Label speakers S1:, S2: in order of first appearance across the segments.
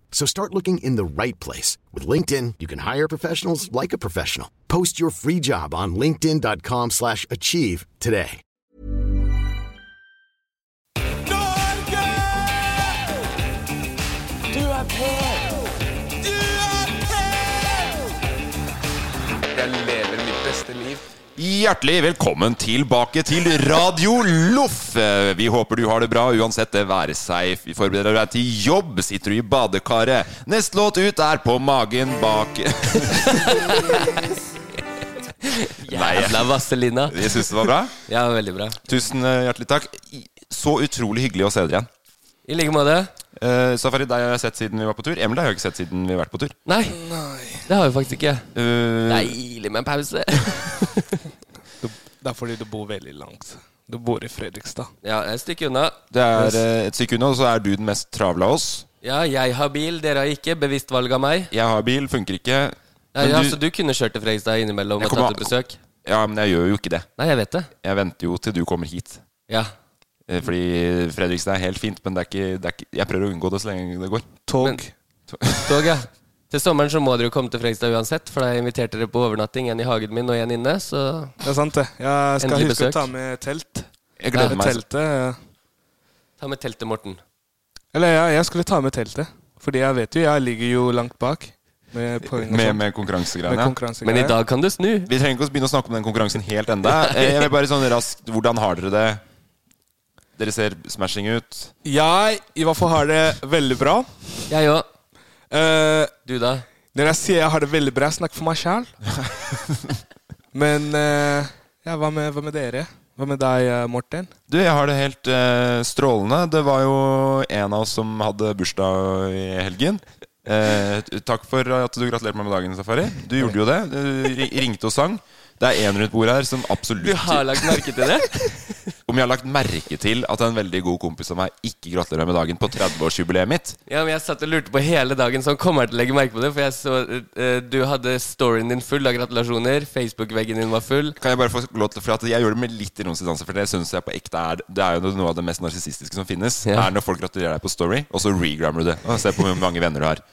S1: So start looking in the right place. With LinkedIn, you can hire professionals like a professional. Post your free job on linkedin.com/achieve slash achieve today.
S2: Norge! Du er på! Du er på! Jeg lever mitt beste liv.
S3: Hjertelig velkommen tilbake til Radio Loff. Eh, Vi håper du har det bra uansett det være seg. Vi forbereder deg til jobb. Sitter du i badekaret? Neste låt ut er På magen bak Nei, jeg-
S4: Jævla Vazelina.
S3: jeg syns det var bra.
S4: Ja, veldig bra.
S3: Tusen eh, hjertelig takk. I- Så utrolig hyggelig å se dere igjen.
S4: I like måte.
S3: Eh, Safari, deg har jeg sett siden vi var på tur. Emil deg har jeg ikke sett siden vi har vært på tur.
S4: Nei, det har vi faktisk ikke.
S3: Eh,
S4: Deilig med en pause.
S5: Du, det er fordi du bor veldig langt. Du bor i Fredrikstad.
S4: Ja, et stykke unna.
S3: det er eh, et stykke unna, og så er du den mest travle av oss.
S4: Ja, jeg har bil, dere har ikke. Bevisst valg av meg.
S3: Jeg har bil, funker ikke.
S4: Nei,
S3: Men
S4: ja,
S3: du-
S4: så du kunne kjørt til Fredrikstad innimellom
S3: Jeg
S4: og tatt
S3: kommer-
S4: et besøk?
S3: Ja, men jeg gjør jo ikke det.
S4: Nei, jeg vet det.
S3: Jeg venter jo til du kommer hit.
S4: Ja.
S3: Eh, Fordi Fredrikstad er helt fint, men det er ikke, det er ikke, jeg prøver å unngå det så lenge det går.
S5: Tog.
S4: Men- Tog, ja. Til sommeren så må dere jo komme til Fredrikstad uansett, for da inviterte dere på overnatting. En i hagen min og en inne, så
S5: det er sant, det. Jeg skal
S4: Endelig
S5: huske
S4: besøk.
S5: å ta med telt.
S3: Jeg
S5: Nei,
S3: gleder meg.
S5: teltet.
S4: ta med teltet, Morten.
S5: Eller ja, jeg skulle ta med teltet. Fordi jeg vet jo, jeg ligger jo langt bak med poeng og sånt.
S3: Med, med
S5: Med
S3: konkurransegreiene.
S4: Men i
S5: konkurransegreier.
S4: dag kan du snu.
S3: Vi trenger ikke å begynne å snakke om den konkurransen helt enda Eh, Jeg vil bare sånn raskt Hvordan har dere det? Dere ser smashing ut.
S5: Jeg i hvert fall har det veldig bra.
S4: Jeg òg.
S5: Eh,
S4: Du, da?
S5: når jeg sier jeg har det veldig bra, jeg snakker for meg sjæl. Men eh, ja, hva med, hva med dere? Hva med deg, eh, Morten?
S3: Du, jeg har det helt eh, strålende. Det var jo en av oss som hadde bursdag i helgen. Eh, t- takk for at du gratulerte meg med dagen, Safari. Du gjorde jo det. Du ri- ringte og sang. Det er én rundt bordet her som absolutt
S4: Du har lagt merke til det?
S3: Om jeg har lagt merke til at en veldig god kompis av meg ikke gratulerer meg med dagen på 30-årsjubileet mitt.
S4: Ja, men Jeg satt og lurte på hele dagen, så han kommer til å legge merke på det. For jeg så eh, du hadde storyen din full av gratulasjoner. Facebook-veggen din var full.
S3: Kan jeg bare få lov til For at jeg gjør det med litt ironisk distanse, for det syns jeg på ekte er Det er jo noe av det mest narsissistiske som finnes.
S4: Ja.
S3: Er når folk gratulerer deg på Story, og så regrammer du det. Og Se på hvor mange venner du har.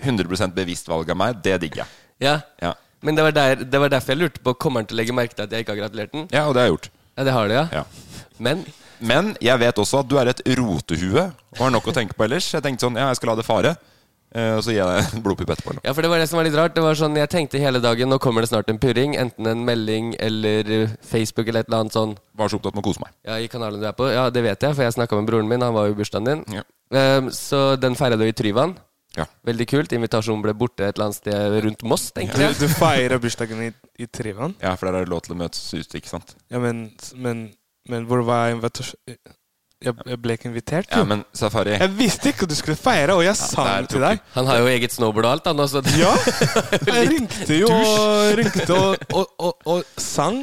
S3: 100 bevisst valg av meg. Det digger jeg.
S4: Ja.
S3: Ja.
S4: Men det var, der, det var derfor jeg lurte på kommer han til å legge merke til at jeg ikke har gratulert den.
S3: ja, og det har jeg gjort.
S4: Ja, det har du, ja.
S3: Ja.
S4: Men
S3: Men jeg vet også at du er et rotehue og har nok å tenke på ellers. Jeg tenkte sånn, ja, jeg skal la det fare. eh, Og så gir jeg deg en blodpupp etterpå. eller noe.
S4: Ja, for det var det som var litt rart. Det var sånn, Jeg tenkte hele dagen nå kommer det snart en purring. Enten en melding eller eh, Facebook eller et eller annet sånn.
S3: Var så opptatt med å kose meg.
S4: Ja, i kanalen du er på. Ja, det vet jeg, for jeg snakka med broren min. Han var jo i bursdagen din.
S3: Ja.
S4: Ehm, så den feira du i Tryvann.
S3: Ja.
S4: Veldig kult. Invitasjonen ble borte et eller annet sted rundt Moss, tenker
S5: Du,
S4: jeg.
S5: du feirer bursdagen i, i Tryvann?
S3: ja, for der er det lov til å møtes ute, ikke sant?
S5: Ja, men, men, men hvor var jeg invitasjon... Jeg, jeg ble ikke invitert, jo.
S3: Ja, men Safari
S5: Jeg visste ikke at du skulle feire, og jeg sa
S3: det er
S5: det til deg.
S4: Han har jo eget snowboard og alt, han altså. også.
S5: Ja, Jeg ringte jo og, ringte og, og, og, og sang.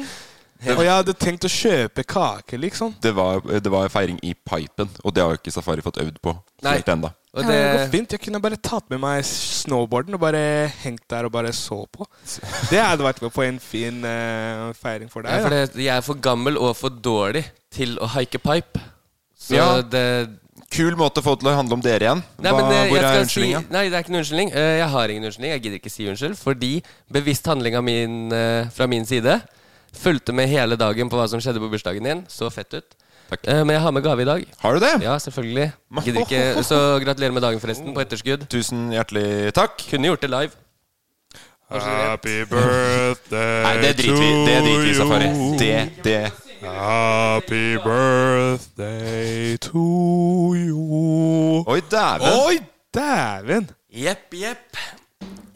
S5: Og jeg hadde tenkt å kjøpe kake, liksom.
S3: det var, det var feiring i pipen, og det har jo ikke Safari fått øvd på
S4: Nei.
S3: helt ennå.
S4: Og
S5: det går
S4: det,
S5: fint. Jeg kunne bare tatt med meg snowboarden og bare hengt der og bare så på. Det hadde vært på en fin eh, feiring for
S4: ja,
S5: deg.
S4: for
S5: Da.
S4: det, jeg er for gammel og for dårlig til å haike pipe. Så
S3: Ja.
S4: det
S3: Kul måte å få til å handle om dere igjen.
S4: Nei, men,
S3: Hva,
S4: eh,
S3: hvor
S4: jeg
S3: er
S4: skal
S3: unnskyldninga?
S4: Si, nei, det er ikke noen unnskyldning. Eh, Jeg har ingen unnskyldning. Jeg gidder ikke si unnskyld. Fordi bevisst handling av min, eh, fra min side fulgte med hele dagen på hva som skjedde på bursdagen din. Så fett ut.
S3: Takk.
S4: Eh, Men jeg har med gave i dag.
S3: Har du det?
S4: Ja, selvfølgelig. Gidder ikke. Så gratulerer med dagen, forresten. På etterskudd.
S3: Tusen hjertelig takk.
S4: Kunne gjort det live.
S5: Happy birthday
S3: Nei, det driter vi Det driter vi i, Safari. Det, det.
S5: Happy birthday to you.
S3: Oi, dæven.
S5: Oi, dæven!
S4: Jepp, jepp.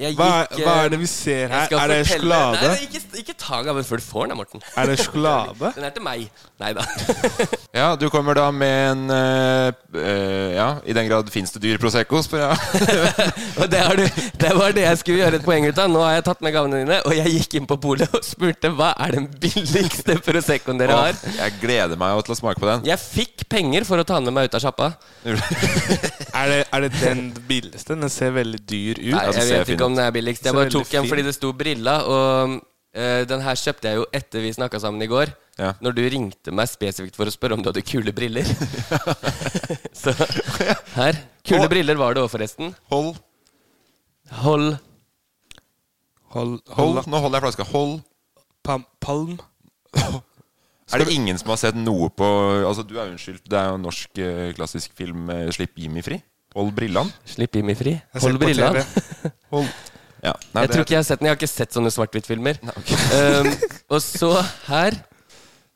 S4: Jeg
S5: Hva,
S4: gikk, eh,
S5: hva er det vi ser
S4: jeg
S5: her?
S4: skal
S5: Er det
S4: fortelle-
S5: sjokolade?
S4: Nei, nei, ikke, ikke ta gaven før du får den, da, Morten.
S5: Er det sjokolade?
S4: Den er til meg. Nei da.
S3: Ja, du kommer da med en eh, eh, Ja, i den grad fins det dyr Prosecco, spør jeg.
S4: Og det, har du, det var det jeg skulle gjøre et poeng ut av. Nå har jeg tatt med gavene dine, og jeg gikk inn på polet og spurte hva er den billigste Proseccoen dere har.
S3: Åh, jeg gleder meg jo til å smake på den.
S4: Jeg fikk penger for å ta den med meg ut av sjappa.
S5: Er det, er det den billigste? Den ser veldig dyr ut.
S4: Nei,
S3: den
S4: jeg
S3: ser
S4: vet ikke
S3: fin ut.
S4: om den er billigst. Jeg
S5: Ser
S4: bare
S5: veldig
S4: tok en
S5: fin.
S4: fordi det sto brilla, og eh, den her kjøpte jeg jo etter vi snakka sammen i går.
S3: Ja.
S4: Når du ringte meg spesifikt for å spørre om du hadde kule briller. Så her. Kule
S3: Og-
S4: briller var det òg, forresten.
S3: Hold,
S4: Hold
S5: Hold,
S3: hold,
S5: hold,
S3: nå holder jeg flaska. Hold.
S5: pam, palm.
S3: Er det ingen som har sett noe på Altså, du er unnskyldt. Det er jo en norsk eh, klassisk film. eh, 'Slipp Jimmy fri'. Hold brillene.
S4: Slipp Jimmy fri.
S5: Jeg ser
S4: Hold
S5: på
S4: brilla.
S5: TV.
S3: Hold. Ja. Nei,
S4: jeg tror
S3: det-
S4: ikke jeg har sett den. Jeg har ikke sett sånne svart-hvitt-filmer.
S3: ok.
S4: um, og så her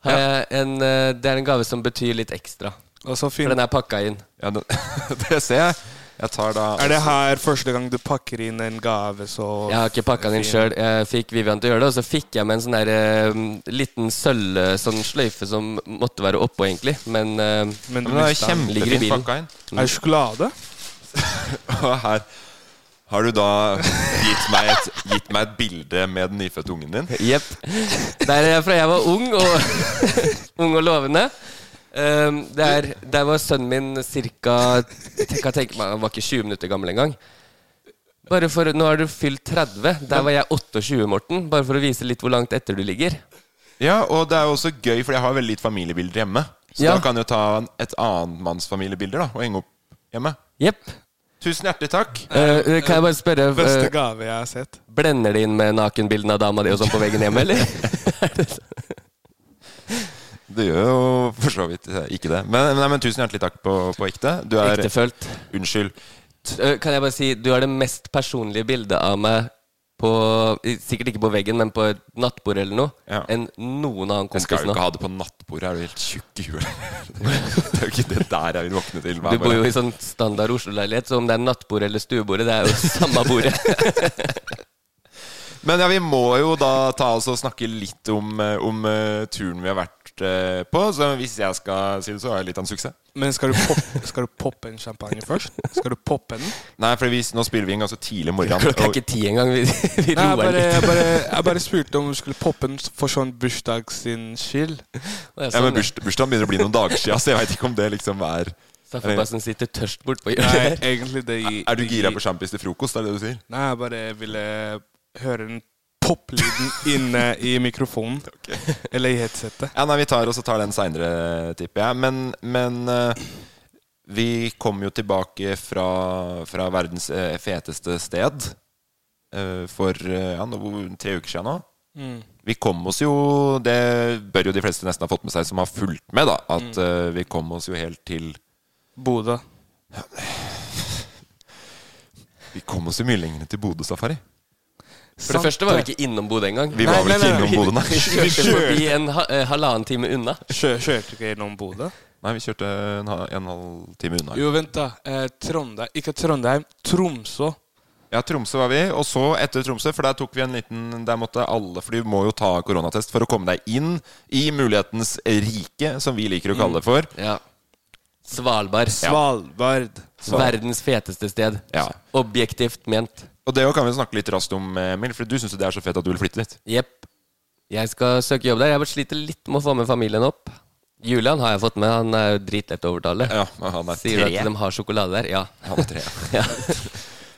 S4: har jeg en eh, Det er en gave som betyr litt ekstra.
S5: Og så
S4: For
S5: fin.
S4: den er pakka inn.
S3: ja, det, det ser jeg. Jeg tar da
S5: Er det her første gang du pakker inn en gave, så
S4: Jeg har ikke pakka den inn sjøl. Jeg fikk Vivian til å gjøre det, og så fikk jeg med en sånn der, eh, liten sølv sånn sløyfe som måtte være oppå, egentlig. Men eh,
S5: Men du
S3: Ja, men det er
S5: mistet den.
S4: Ligger i
S3: kjempefint
S4: bilen.
S3: pakka inn.
S5: Er det sjokolade?
S3: Og her har du da gitt meg et, gitt meg et bilde med den nyfødte ungen din.
S4: jepp. Der er jeg fra jeg var ung og, ung og lovende. Um, der, der var sønnen min ca. Kan tenke meg, han var ikke 20 minutter gammel engang. Bare for, nå har du fylt 30. Der var jeg 28, Morten. Bare for å vise litt hvor langt etter du ligger.
S3: Ja, og det er jo også gøy, for jeg har veldig lite familiebilder hjemme. Så
S4: Ja.
S3: da kan jeg jo ta en- et annet manns familiebilder da, og henge opp hjemme.
S4: Jepp.
S3: Tusen hjertelig takk.
S4: Uh, kan jeg bare spørre,
S5: Beste
S4: uh,
S5: gave jeg har sett.
S4: blender det inn med nakenbildene av dama di og sånn på veggen hjemme, eller?
S3: Det gjør jo for så vidt eh, ikke det. Men, nei, men tusen hjertelig takk på, på ekte. Du er
S4: Ektefølt.
S3: Unnskyld.
S4: Uh, kan jeg bare si, du har det mest personlige bildet av meg på i- Sikkert ikke på veggen, men på et nattbord eller noe.
S3: Ja.
S4: Enn noen annen
S3: Jeg
S4: kompis
S3: skal jo
S4: nå.
S3: ikke ha det på nattbordet. Er du helt tjukk i huet? Det er jo ikke det der jeg vil våkne til.
S4: Du bor jo i sånn standard Oslo-leilighet, så om det er nattbord eller stuebordet, det er jo samme bordet.
S3: Men ja, vi må jo da ta oss og snakke litt om, eh, om eh, turen vi har vært eh, på. Så hvis jeg skal si det, så har jeg litt av en suksess.
S5: Men skal du, poppe, skal du poppe en champagne først? Skal du poppe den?
S3: Nei, for vi, nå spiller vi inn ganske tidlig om morgenen.
S4: Klokka er
S3: og-
S4: ikke ti engang. Vi,
S5: Nei,
S4: vi
S5: jeg
S4: roer
S5: bare,
S4: litt.
S5: jeg bare, jeg bare spurte om du skulle poppe den for sånn bursdag sin skyld.
S4: Å,
S3: Ja, men
S4: sånn, ja.
S3: burs, bursdagen begynner å bli noen dager siden, så jeg veit ikke om det liksom er
S4: Straffebassen sitter tørst bort på
S5: Nei,
S4: hjørnet.
S5: egentlig det gi-
S3: Er du
S5: det
S3: gira
S5: gi-
S3: på sjampis til frokost, er det det du sier?
S5: Nei, jeg bare ville høre den poplyden inne i mikrofonen. Eller i headsetet.
S3: Ja, nei, vi tar, og så tar den seinere, tipper jeg. Men, men eh, vi kom jo tilbake fra, fra verdens eh, feteste sted eh, for eh, ja, nå- tre uker siden nå. Vi kom oss jo Det bør jo de fleste nesten ha fått med seg som har fulgt med, da. At eh, vi kom oss jo helt til
S5: Bodø.
S3: Vi kom oss jo mye lenger enn til Bodø Safari.
S4: For det første var vi ikke innom Bodø engang.
S3: Vi var vel ikke innom Bodø, nei.
S4: Vi kjørte forbi en ha, eh, halvannen time unna.
S5: Kjø, kjørte du ikke gjennom Bodø?
S3: Nei, vi kjørte en, ha- en halv time unna.
S5: Jo, vent, da. Eh, Trondheim Ikke Trondheim. Tromsø.
S3: Ja, Tromsø var vi, og så etter Tromsø, for der tok vi en liten Der måtte alle, for du må jo ta koronatest for å komme deg inn i mulighetens rike, som vi liker å kalle det for.
S4: Ja. Svalbard.
S5: Svalbard.
S4: Verdens feteste sted.
S3: Ja.
S4: Objektivt ment.
S3: Og det kan vi snakke litt raskt om, Emil, for du syns jo det er så fett at du vil flytte dit.
S4: Jepp. Jeg skal søke jobb der. Jeg bare sliter litt med å få med familien opp. Julian har jeg fått med. Han er jo dritlett å overtale.
S3: Ja, men han er
S4: Sier du
S3: tre.
S4: at de har sjokolade der? Ja.
S3: Han er tre.
S4: ja.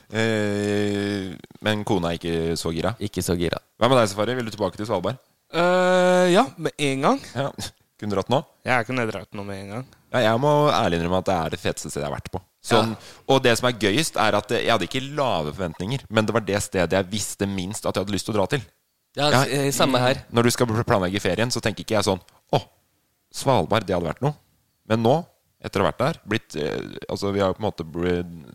S3: Eh, men kona er ikke så gira.
S4: Ikke så gira.
S3: Hva med deg, Safari? Vil du tilbake til Svalbard?
S5: Eh, ja, med en gang.
S3: Ja. Kunne dratt nå?
S5: Jeg kunne dratt noe med en gang.
S3: Ja, jeg må ærlig innrømme at det er det feteste stedet jeg har vært på. Sånn, Og det som er gøyest, er at jeg hadde ikke lave forventninger, men det var det stedet jeg visste minst at jeg hadde lyst til å dra til.
S4: Ja,
S3: Ja.
S4: s- eh, Samme her.
S3: Når du skal planlegge ferien, så tenker ikke jeg sånn Å, Svalbard, det hadde vært noe. Men nå, etter å ha vært der, blitt eh, Altså, vi har på en måte blitt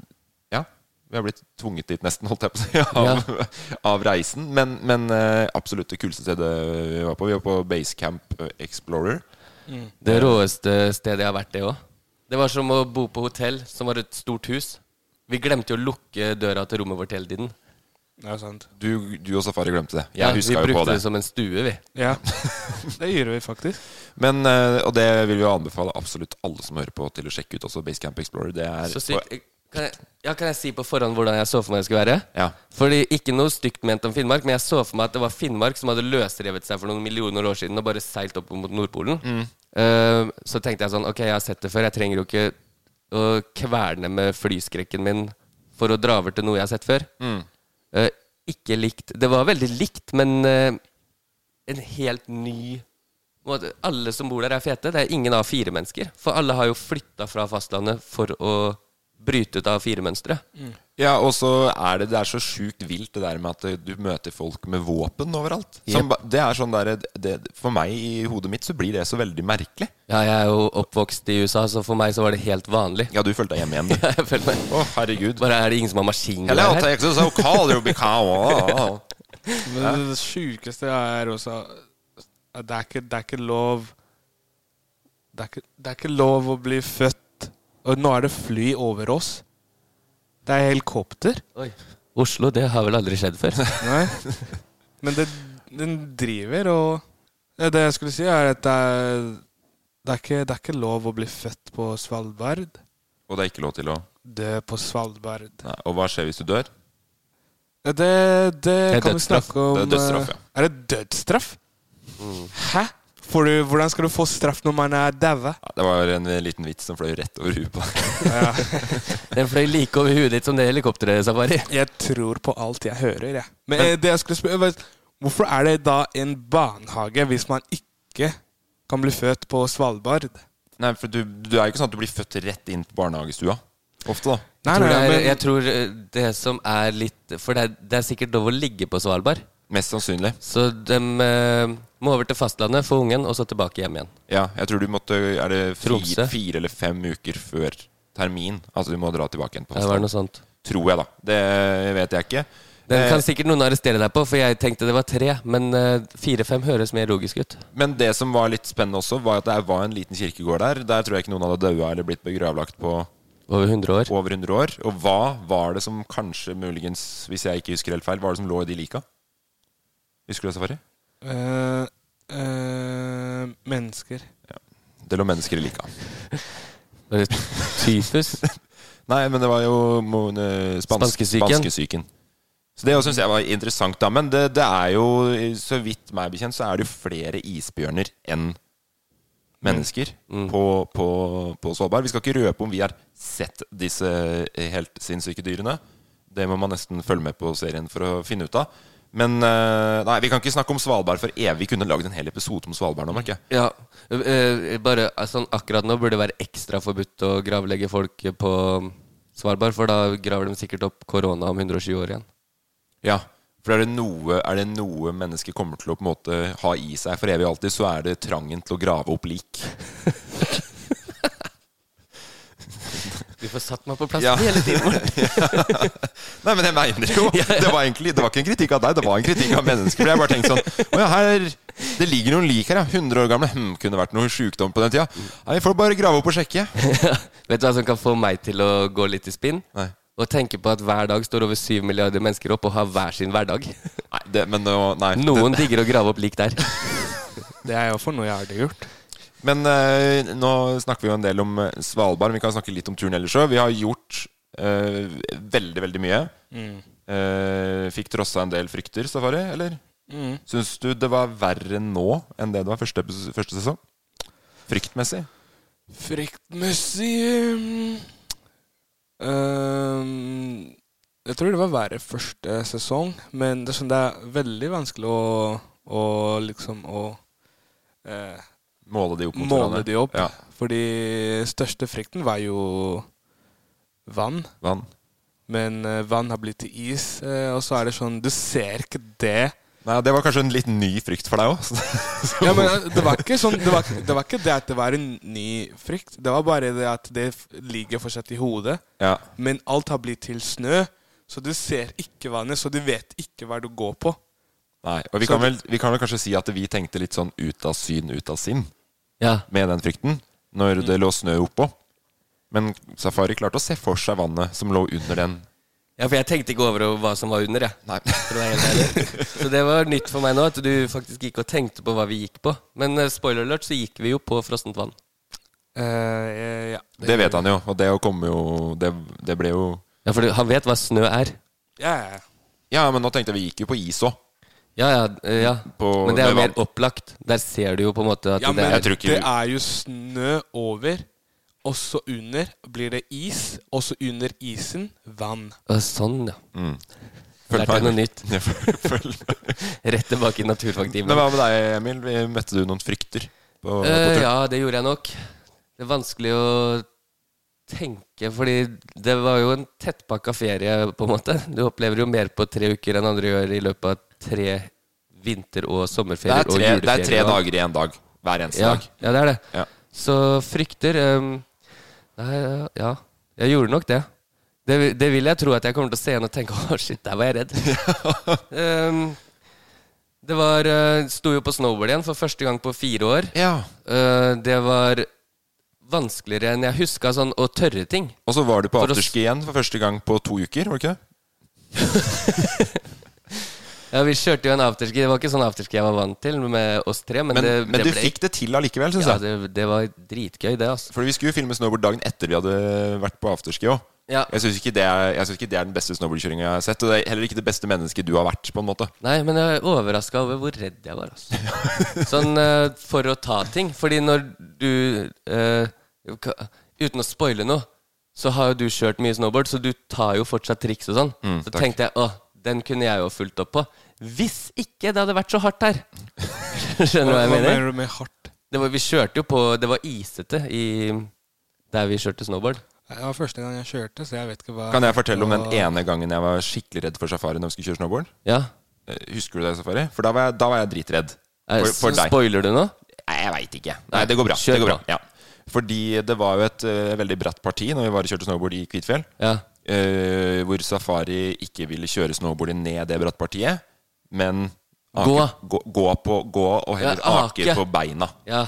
S3: Ja. Vi har blitt tvunget dit, nesten, holdt jeg på å si, av, av reisen. Men, men eh, absolutt det kuleste stedet vi var på. Vi var på Basecamp eh, Explorer.
S4: Det råeste stedet jeg har vært, det òg. Det var som å bo på hotell, som var et stort hus. Vi glemte jo å lukke døra til rommet vårt hele tiden.
S5: Det er sant.
S3: Du, du og Safari glemte det.
S4: Ja,
S3: Jeg huska
S4: vi
S3: jo på
S4: brukte
S3: det.
S4: det som en stue, vi.
S5: Ja. det gjør vi faktisk.
S3: Men, eh, og det vil vi jo anbefale absolutt alle som hører på, til å sjekke ut også Basecamp Explorer. Det er
S4: Så sykt. Jeg- Kan jeg, ja, kan jeg si på forhånd hvordan jeg så for meg det skulle være?
S3: Ja.
S4: Fordi Ikke noe stygt ment om Finnmark, men jeg så for meg at det var Finnmark som hadde løsrevet seg for noen millioner år siden og bare seilt opp mot Nordpolen. Eh, så tenkte jeg sånn Ok, jeg har sett det før. Jeg trenger jo ikke å kverne med flyskrekken min for å dra over til noe jeg har sett før. Eh, ikke likt. Det var veldig likt, men eh, en helt ny og at Alle som bor der, er fete. Det er ingen A4-mennesker. For alle har jo flytta fra fastlandet for å bryte ut A4-mønsteret.
S3: Mm. Ja, og så er det, det er så sjukt vilt det der med at eh, du møter folk med våpen overalt. Som, ba- det er sånn der, det, For meg i hodet mitt så blir det så veldig merkelig.
S4: Ja, jeg er jo oppvokst i USA, så for meg så var det helt vanlig.
S3: Ja, du følte deg hjemme igjen, du.
S4: Jeg føler meg
S3: Å, herregud.
S4: Bare er det ingen som har maskingevær
S3: Hello,
S4: her?
S3: Texas, how cold you become.
S5: Men det sjukeste er også at det er ikke, det er ikke lov det er ikke, det er ikke lov å bli født Og nå er det fly over oss. Det er helikopter.
S4: Oi. Oslo, det har vel aldri skjedd før.
S5: Nei. Men det, den driver og Ja, Det jeg skulle si, er at det er, det er, ikke, det er ikke lov å bli født på Svalbard.
S3: Og det er ikke lov til å
S5: Dø på Svalbard.
S3: Nei, Og hva skjer hvis du dør?
S5: Ja, Det, det,
S4: er
S5: kan vi
S4: dødsstraff.
S5: snakke om
S3: Det er dødsstraff, ja. Mm.
S5: eh, Er det dødsstraff? Hæ? Får du, hvordan skal du få straff når man er daua?
S3: Ja, det var en liten vits som fløy rett over huet på deg.
S4: Den fløy like over huet ditt som det helikopteret, Safari.
S5: Jeg tror på alt jeg hører, jeg. Men eh, det jeg skulle spørre vet- Hvorfor er det da en barnehage hvis man ikke kan bli født på Svalbard?
S3: Nei, for du, du er jo ikke sånn at du blir født rett inn på barnehagestua. Ofte, da.
S5: Nei,
S4: Tror det er,
S5: men-
S4: jeg tror eh, det som er litt For det er, det er sikkert lov å ligge på Svalbard.
S3: Mest sannsynlig.
S4: Så de eh, må over til fastlandet, få ungen, og så tilbake hjem igjen.
S3: Ja, jeg tror du måtte Er det fire,
S4: Tromsø.
S3: fire eller fem uker før termin? Altså du må dra tilbake igjen på
S4: Det var
S3: fastlandet.
S4: noe sånt.
S3: Tror jeg, da. Det vet jeg ikke.
S4: Den
S3: Eh,
S4: kan sikkert noen arrestere deg på, for jeg tenkte det var tre. Men eh, fire-fem høres mer logisk ut.
S3: Men det som var litt spennende også, var at det var en liten kirkegård der. Der tror jeg ikke noen hadde daua eller blitt begravlagt på
S4: Over 100 år.
S3: over 100 år. Og hva var det som kanskje, muligens, hvis jeg ikke husker helt feil, hva var det som lå i de lika? Husker du det, Safari?
S5: Eh, eh, mennesker.
S3: Det lå mennesker i lika.
S4: Bare tyfus.
S3: Nei, men det var jo mo- ne- spansk,
S4: Spanskesyken.
S3: spanskesyken. Så det syns jeg var interessant, da. Men det, det er jo, så vidt meg bekjent, så er det jo flere isbjørner enn mennesker på, på, på Svalbard. Vi skal ikke røpe om vi har sett disse eh, helt sinnssyke dyrene. Det må man nesten følge med på serien for å finne ut av. Men eh, nei, vi kan ikke snakke om Svalbard for evig. Vi kunne lagd en hel episode om Svalbard nå, merker jeg.
S4: Ja. eh, bare eh, sånn akkurat nå burde det være ekstra forbudt å gravlegge folk på um, Svalbard, for da graver de sikkert opp korona om 120 år igjen.
S3: Ja, for er det, noe, er det noe mennesker kommer til å på en måte ha i seg for evig og alltid, så er det trangen til å grave opp lik.
S4: Du får satt meg på plass
S3: Ja.
S4: hele tiden. Morten.
S3: Nei, men jeg mener jo Det var egentlig Det var ikke en kritikk av deg, det var en kritikk av mennesker. For jeg bare tenkte sånn Å ja, her Det ligger noen lik her, ja. 100 år gamle. Hm, kunne vært noe sjukdom på den tida. Nei, vi får bare grave opp og sjekke.
S4: Vet du hva som kan få meg til å gå litt i spinn?
S3: Nei.
S4: Å tenke på at hver dag står over 7 milliarder mennesker opp og har hver sin hverdag.
S3: Nei, det, men nå Nei. det-
S4: Noen digger å grave opp lik der.
S5: Det er jo for noe jeg aldri har gjort.
S3: Men eh, nå snakker vi jo en del om eh, Svalbard, men vi kan snakke litt om turen ellers òg. Vi har gjort eh, veldig, veldig mye.
S5: Mm.
S3: Eh, fikk trossa en del frykter, Safari,
S5: Mm.
S3: eller? Syns du det var verre nå enn det det var første, epis- første sesong? Fryktmessig.
S5: Fryktmessig ehm, ehm, Jeg tror det var verre første sesong, men det er, sånn, det er veldig vanskelig å, å liksom å eh,
S3: Måle de opp mot
S5: måle de opp.
S3: Ja,
S5: Fordi største frykten var jo vann.
S3: vann.
S5: Men eh, vann har blitt til is, eh, og så er det sånn Du ser ikke det.
S3: Nei, Det var kanskje en litt ny frykt for deg òg.
S5: Ja, men eh, det var ikke sånn det var, det var ikke det at det var en ny frykt. Det var bare det at det f- ligger fortsatt i hodet.
S3: ja.
S5: Men alt har blitt til snø, så du ser ikke vannet, så du vet ikke hva du går på.
S3: Nei, og vi
S5: Så
S3: kan, vel, vi kan vel kanskje si at vi tenkte litt sånn ut av syn, ut av sinn
S4: Ja.
S3: med den frykten når det lå snø oppå. Men Safari klarte å se for seg vannet som lå under den.
S4: ja, for jeg tenkte ikke over hva som var under, jeg.
S3: Nei.
S4: For å være helt ærlig. Så det var nytt for meg nå, at du faktisk gikk og tenkte på hva vi gikk på. Men eh, spoiler alert, så gikk vi jo på frossent vann.
S5: Eh, ja.
S3: Det vet han jo, og det å komme jo Det, det ble jo
S4: Ja, for han vet hva snø er.
S5: Ja, ja.
S3: Ja, men nå tenkte jeg vi gikk jo på is òg.
S4: Ja, ja, eh, ja.
S3: På-
S4: Men det er jo
S3: med
S4: mer opplagt. Der ser du jo på en måte at
S5: ja, men
S4: det er
S3: tror ikke-
S5: det er jo snø over, og så under blir det is, og så under isen vann.
S4: Å, Sånn, ja.
S3: Mm. Følg
S4: Lærte
S3: meg.
S4: noe nytt.
S3: Ja, følg- følg meg.
S4: Rett tilbake i
S3: Men
S4: naturfagtimen.
S3: hva med deg, Emil? Vi- Møtte du noen frykter? På, på
S4: Eh,
S3: tur?
S4: ja, det gjorde jeg nok. Det er vanskelig å tenke, fordi det var jo en tettpakka ferie, på en måte. Du opplever jo mer på tre uker enn andre gjør i løpet av tre vinter- og
S3: det, er
S4: sommerferier
S3: tre,
S4: og
S3: det er tre
S4: juleferier. da.
S3: dager i en dag. Hver eneste
S4: Ja,
S3: dag.
S4: ja, det er det.
S3: Ja.
S4: Så frykter ehm, Nei, ja. Jeg gjorde nok det. Det, vil- det vil jeg tro at jeg kommer til å se igjen og tenke Å, shit, der var jeg redd. Ehm, det var eh, Sto jo på snowboard igjen for første gang på fire år.
S3: Ja.
S4: Eh, det var vanskeligere enn jeg huska sånn å tørre ting.
S3: Og så var du på
S4: For å-
S3: afterski igjen for første gang på to uker, var det ikke det?
S4: Ja, Vi kjørte jo en afterski. Det var ikke sånn afterski jeg var vant til med oss tre. Men,
S3: Men,
S4: det,
S3: men
S4: det
S3: du fikk altså? det til allikevel, syns
S4: Ja,
S3: jeg.
S4: det, det var dritgøy, det, altså.
S3: Fordi vi skulle jo filme snowboard dagen etter vi hadde vært på afterski òg.
S4: Ja.
S3: Jeg syns ikke, det er- jeg synes ikke det er den beste snowboardkjøringa jeg har sett. Og det er heller ikke det beste mennesket du har vært, på en måte.
S4: Nei, men jeg er overraska over hvor redd jeg var. Altså. Sånn eh, for å ta ting. Fordi når du eh, ka- Uten å spoile noe, så har jo du kjørt mye snowboard, så du tar jo fortsatt triks og sånn. så
S3: Mm, takk.
S4: tenkte jeg å, den kunne jeg jo fulgt opp på. Hvis ikke det hadde vært så hardt her. Skjønner du hva jeg mener?
S5: du med hardt?
S4: Det var, vi kjørte jo på Det var isete i der vi kjørte snowboard.
S5: Det var første gang jeg kjørte, så jeg vet ikke hva
S3: Kan jeg fortelle om den ene gangen jeg var skikkelig redd for safari når vi skulle kjøre snowboard?
S4: Ja.
S3: Eh, Husker du det, Safari? For da var jeg, da var jeg dritredd.
S4: Eh,
S3: For, for
S4: så
S3: deg.
S4: Spoiler du nå?
S3: Nei, jeg veit ikke. Nei, det går bra.
S4: Kjør
S3: Det går bra.
S4: på.
S3: Ja. Fordi det var jo et eh, veldig bratt parti når vi var og kjørte snowboard i Kvitfjell.
S4: Ja.
S3: eh, hvor Safari ikke ville kjøre snowboardet ned det bratt partiet, men
S4: Gå.
S3: gå, gå, på, gå og heller
S4: Ja,
S3: ake.
S4: ake.
S3: på beina.
S4: ja.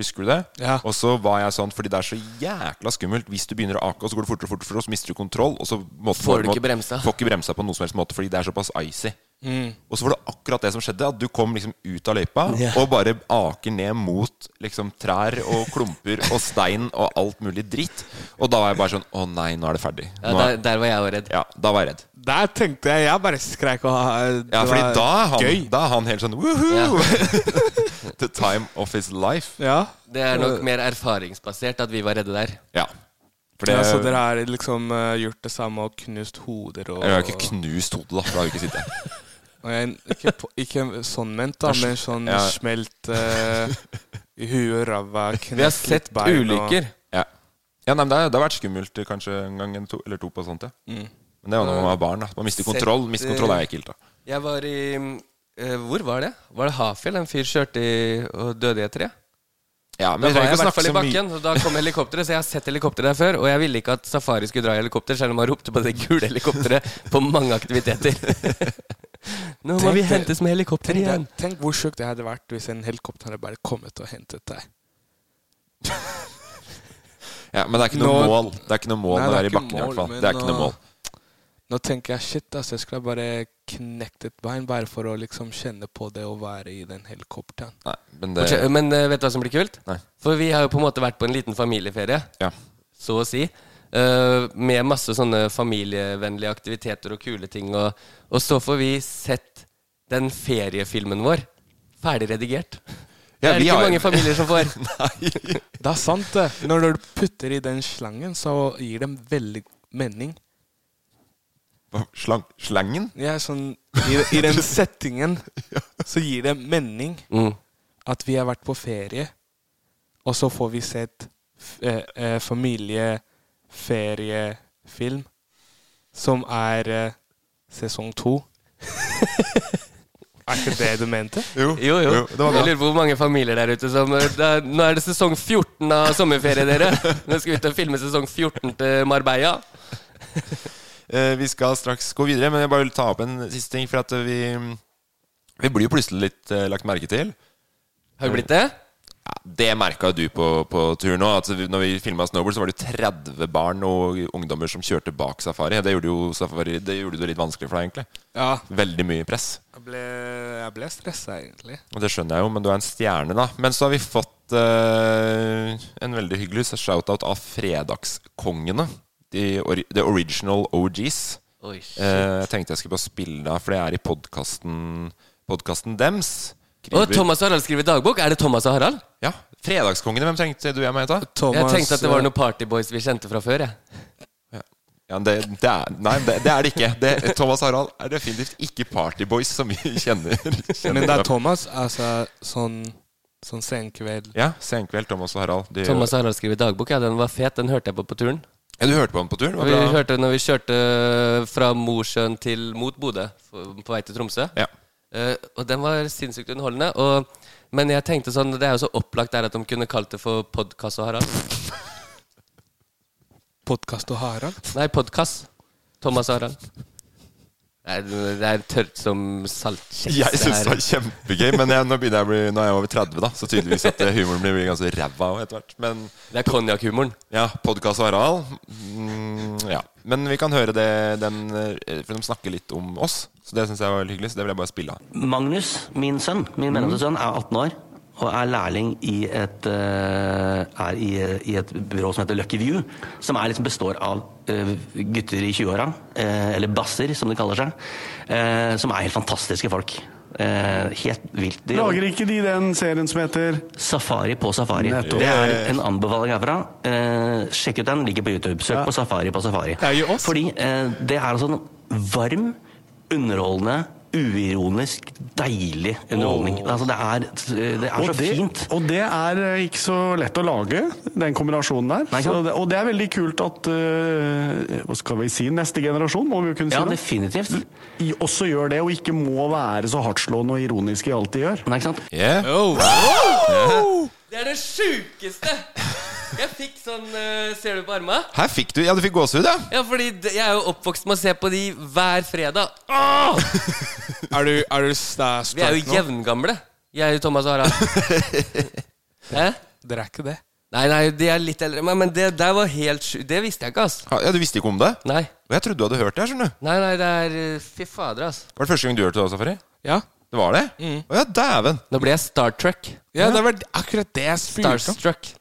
S3: Husker du det?
S5: Ja.
S3: Og så var jeg sånn, fordi det er så jækla skummelt hvis du begynner å ake, og så går det fortere og fortere, fortere, og så mister du kontroll, og så må,
S4: Får du
S3: må-
S4: ikke bremsa.
S3: Får ikke bremsa på noen som helst måte, fordi det er såpass icy.
S5: Mm.
S3: Og så var det akkurat det som skjedde, at du kom liksom ut av løypa og bare aker ned mot liksom trær og klumper og stein og alt mulig dritt. Og da var jeg bare sånn Å nei, nå er det ferdig.
S4: ja
S3: Nå er,
S4: der, der var jeg òg redd.
S3: ja, da var jeg redd.
S5: Der tenkte jeg Jeg bare skreik og det
S3: Ja, fordi
S5: var
S3: da er han,
S5: gøy.
S3: da er han helt sånn Woohoo! The time of his life.
S5: Ja.
S4: Det er nok mer erfaringsbasert at vi var redde der.
S3: Ja. For
S5: ja, så dere har liksom eh, gjort det samme og knust hoder og
S3: Jeg har ikke knust hodet, da. For da har vi ikke sittet her.
S5: og jeg, ikke, på, ikke sånn ment, da, men sånn
S3: Ja.
S5: smelt eh, i huet, ræva, knekt
S4: Vi har sett
S5: litt bein og-
S4: ulykker.
S3: Ja. Ja, nei, men det, har- det har vært skummelt eh, kanskje en gang en to, eller to på sånt, ja. Men det var når man var barn. da Man mister
S4: Sett,
S3: kontroll. Miste kontroll er
S4: eh,
S3: jeg ikke helt, da.
S4: Jeg var i eh, Hvor var det? Var det Hafjell? En fyr kjørte i og døde i et tre? Da
S3: Ja, men
S4: var
S3: vi trenger
S4: jeg i hvert
S3: ikke snakke
S4: fall i
S3: så mye.
S4: bakken, og da kom helikopteret. Så jeg har sett helikopter der før, og jeg ville ikke at Safari skulle dra i helikopter, selv om han ropte på det gule helikopteret på mange aktiviteter. Nå må
S5: Tenk
S4: vi
S5: det-
S4: hentes med helikopter
S5: Tenk,
S4: igjen.
S5: deg- tenk hvor sjukt det hadde vært hvis en helikopter hadde bare kommet og hentet deg.
S3: Ja, men det er ikke noe
S5: Nå-
S3: mål Det er ikke noe mål
S5: Nei,
S3: når
S5: det
S3: det
S5: er
S3: er i
S5: ikke
S3: bakken, i hvert
S5: mål,
S3: fall.
S5: men
S3: Det er ikke noe
S5: nå-
S3: mål.
S5: Nå tenker jeg shit, altså, jeg skulle bare knekt et bein bare for å liksom kjenne på det å være i den helikopteren.
S3: Nei, men det
S4: Fortsett- Men eh, vet du hva som blir kult?
S3: Nei.
S4: For vi har jo på en måte vært på en liten familieferie.
S3: Ja.
S4: så å si. eh, med masse sånne familievennlige aktiviteter og kule ting. Og, og så får vi sett den feriefilmen vår ferdig redigert. Det er det ikke
S3: har-
S4: mange familier som får.
S3: Nei.
S5: Det er sant, det. Når du putter i den slangen, så gir dem veldig mening.
S3: Hva? Slang, slangen?
S5: Ja, sånn, i, I den settingen så gir det mening
S4: Mm.
S5: at vi har vært på ferie, og så får vi sett f- eh, eh, familieferiefilm som er eh, sesong to. er ikke det du mente?
S4: Jo, jo.
S3: Jo, det var bra.
S4: jeg lurer på hvor mange familier der ute som eh, det er, Nå er det sesong 14 av sommerferie, dere. Nå skal vi ut og filme sesong 14 til Marbella.
S3: Eh, vi skal straks gå videre, men jeg bare vil ta opp en siste ting. For at eh, vi, vi blir jo plutselig litt eh, lagt merke til.
S4: Har det blitt det?
S3: Ja, det merka du på, på tur nå. At vi- når vi filma Snowboard, så var det jo 30 barn og ungdommer som kjørte bak safari. Det gjorde jo safari Det gjorde det litt vanskelig for deg, egentlig.
S5: Ja.
S3: Veldig mye press.
S5: Jeg ble, jeg ble stressa, egentlig.
S3: Og det skjønner jeg jo, men du er en stjerne, da. Men så har vi fått eh, en veldig hyggelig shout-out av Fredagskongene. De ori the original OGs.
S4: Oi,
S3: Eh, Jeg tenkte jeg skulle bare spille det av, for det er i podkasten Podkasten Dems.
S4: Og Thomas og Harald skriver dagbok. Er det Thomas og Harald?
S3: Ja. Fredagskongene, hvem tenkte du jeg må hete?
S4: jeg tenkte at det
S5: eh,
S4: var noen partyboys vi kjente fra før. Jeg.
S3: Ja, det, det er, nei, det, det er det ikke. Det, Thomas Harald er definitivt ikke Partyboys som vi kjenner. kjenner
S5: Men det er Thomas, altså sånn, sånn senkveld
S3: Ja, Senkveld, Thomas og Harald. De,
S4: Thomas og Harald skriver dagbok. Ja, den var fet. Den hørte jeg på på turen.
S3: ja, du hørte på ham på turen?
S4: Vi
S3: Det var bra.
S4: hørte den når vi kjørte fra Mosjøen til mot Bodø, f- på vei til Tromsø.
S3: Ja.
S4: Eh, og den var sinnssykt underholdende. Og, men jeg tenkte sånn Det er jo så opplagt der at de kunne kalt det for Podkast og Harald.
S5: Podkast og Harald.
S4: Nei, Podkast. Thomas og Harald. Nei, det det er tørt som saltkjeks.
S3: Jeg syns
S4: det her.
S3: det var kjempegøy, men jeg, nå begynner jeg å bli Nå er jeg over 30, da, så tydeligvis at eh, humoren blir blir ganske ræva etter hvert. Men
S4: Det er konjakkhumoren.
S3: ja, podkast og Harald. Mm, ja. Men vi kan høre det den eh, For de snakker litt om oss, så det syns jeg var veldig hyggelig. Så det vil jeg bare spille av.
S6: Magnus, min sønn, min mellomste sønn, er 18 år og er lærling i et, eh, er i, i et byrå som heter Lucky View, som er liksom består av eh, gutter i 20-åra, eh, eller basser, som de kaller seg, eh, som er helt fantastiske folk. Eh, helt vilt. De-
S7: Lager ikke de den serien som heter
S6: Safari på Safari.
S7: Nettopp.
S6: Det er en anbefaling herfra. Eh, sjekk ut den, ligger på YouTube. Søk på Safari på Safari.
S5: Det er jo oss.
S6: Fordi eh, det er altså en varm, underholdende, uironisk, deilig underholdning. Altså, det er, det er
S7: og
S6: så
S7: det,
S6: fint.
S7: og det er eh, ikke så lett å lage, den kombinasjonen der.
S6: Nei, ikke
S7: så
S6: sant?
S7: det, og det er veldig kult at eh, Hva skal vi si? Neste generasjon, må vi jo kunne si
S6: Ja,
S7: det.
S6: definitivt.
S7: I- Også gjør det, og ikke må være så hardtslående og ironisk i alt de gjør.
S6: Nei, ikke sant?
S3: Yeah.
S4: Oh, Det er det sjukeste! Jeg fikk sånn eh, Ser du på arma?
S3: Her fikk du Ja, du fikk gåsehud, ja.
S4: Ja, fordi det- jeg er jo oppvokst med å se på de hver fredag. Åh!
S5: Er du, er du sta-
S4: Vi er
S5: sterk
S4: jo
S5: nå?
S4: jevngamle, jeg og Thomas og Harald. Hæ?
S5: Dere er ikke det.
S4: Nei, nei, de er litt eldre enn meg, men det der var helt sjukt. Det visste jeg ikke, ass.
S3: Ja, Du visste ikke om det?
S4: Nei.
S3: Og jeg trodde du hadde hørt det. her, skjønner du
S4: Nei, nei, det er eh, Fy fader, ass.
S3: Var det første gang du hørte det, også, Safari?
S5: Ja.
S3: Det var det? Å ja, dæven!
S4: Nå ble jeg Star Trek.
S5: Ja, det var akkurat det jeg spurte om.
S4: Starstruck.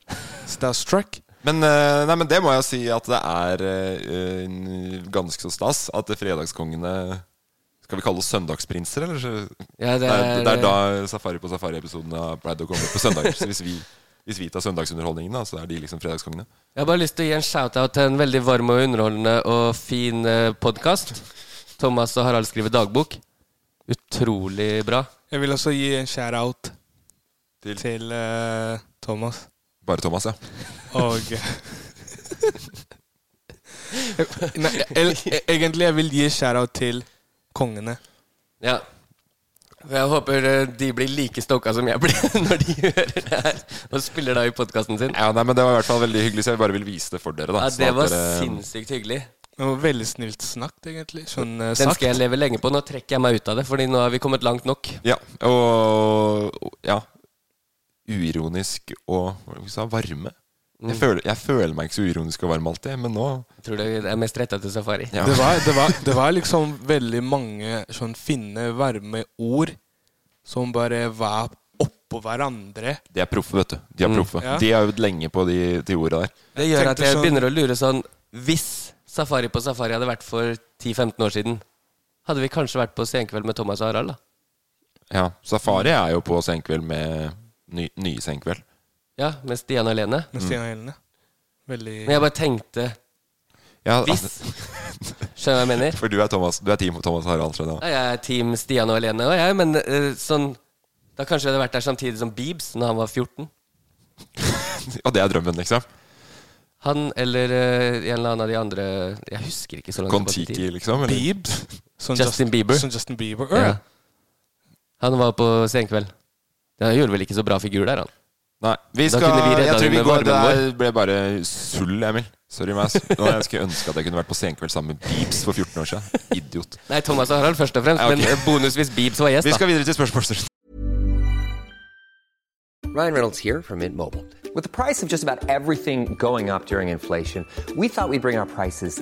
S5: Starstruck.
S3: Men, eh, nei, men det må jeg si at det er eh, en- ganske så stas at det fredagskongene Skal vi kalle oss søndagsprinser, eller? så-
S4: Ja, det er-
S3: det er da Safari på Safari-episoden har pleid å komme på søndager. så hvis vi, hvis vi tar søndagsunderholdningen, da, så er de liksom fredagskongene.
S4: Jeg har bare lyst til å gi en shout-out til en veldig varm og underholdende og fin podkast. Thomas og Harald skriver dagbok. Utrolig bra.
S5: Jeg vil også gi en shout-out
S3: Til?
S5: til, eh, Thomas.
S3: Bare Thomas, ja.
S5: Og Nei, el- e- egentlig jeg vil gi shout-out til kongene.
S4: Ja. Jeg håper eh, de blir like stoka som jeg ble når de hører det her og spiller da i podkasten sin.
S3: ja nei, men Det var i hvert fall veldig hyggelig, så jeg bare vil vise det for dere. da
S4: Ja,
S3: sånn
S4: det
S3: at
S4: var
S3: dere-
S4: sinnssykt hyggelig.
S5: Det var veldig snilt snakket, egentlig. Sånn eh,
S4: Den
S5: sagt.
S4: skal jeg leve lenge på. Nå trekker jeg meg ut av det, Fordi nå har vi kommet langt nok.
S3: Ja, og Ja. Uironisk og Hva var det du sa varme? Jeg, føler, jeg føler meg ikke så uironisk og varm alltid, men nå
S4: Jeg tror det er mest retta til safari.
S3: Ja.
S5: Det var, det, var, det var liksom veldig mange sånn finne, varme ord som bare var oppå hverandre.
S3: De er proffe, vet du. De er proffe.
S5: Ja.
S3: De har øvd lenge på de, de orda der.
S4: Det gjør
S5: tenkte
S4: at jeg
S5: sånn-
S4: begynner å lure sånn Hvis Safari på Safari hadde vært for 10-15 år siden, hadde vi kanskje vært på Senkveld med Thomas og Harald, da?
S3: Ja, Safari er jo på senkveld med Ny, nye Senkveld.
S4: Ja, med Stian alene.
S5: med Stian og Helene. Veldig
S4: Men jeg bare tenkte
S3: Ja, altså,
S4: Hvis Skjønner du hva jeg mener?
S3: For du er, Thomas, du er team Thomas Harald, skjønner
S4: Ja,
S3: jeg.
S4: jeg er team Stian og alene, og jeg, men eh, sånn Da kanskje vi hadde vært der samtidig som Beebs når han var 14.
S3: Og det er drømmen, liksom.
S4: Han eller eh, en eller annen av de andre Jeg husker ikke så langt tilbake i tid.
S3: Kon-Tiki, liksom. Eller?
S5: Biebs. Som
S4: Justin Bieber.
S5: Som Sånn Justin Bieber. Ja.
S4: Ja. Han var på Senkveld. Han gjorde vel ikke så bra figur der, han.
S3: Nei, vi
S4: Da
S3: skal,
S4: kunne vi redda
S3: jeg tror
S4: dem
S3: vi
S4: med
S3: går, det
S4: varmen
S3: der ble bare sull, Emil. Sorry, meg. ass. Nå, jeg skulle ønske at jeg kunne vært på Senkveld sammen med Beeps for 14 år siden. Idiot.
S4: Nei, Thomas og Harald først og fremst,
S3: Ja, ok.
S4: men eh, bonus hvis Beebs var gjest,
S3: Vi
S4: da.
S3: skal videre til spørsmålsrunden.
S8: Ryan Reynolds here from Mint Mobile. With the price of just about everything going up during inflation, we thought we'd bring our prices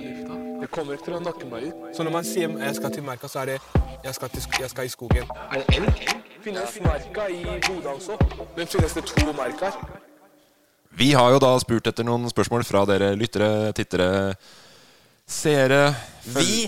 S5: kommer til å nakke meg ut. Så når man sier jeg skal til merka, så er det jeg skal, til, sk- jeg skal i skogen. Er det elg? Finnes merka i Bodø også, men finnes det to merker?
S3: Vi har jo da spurt etter noen spørsmål fra dere lyttere, tittere, seere føl-
S4: Vi!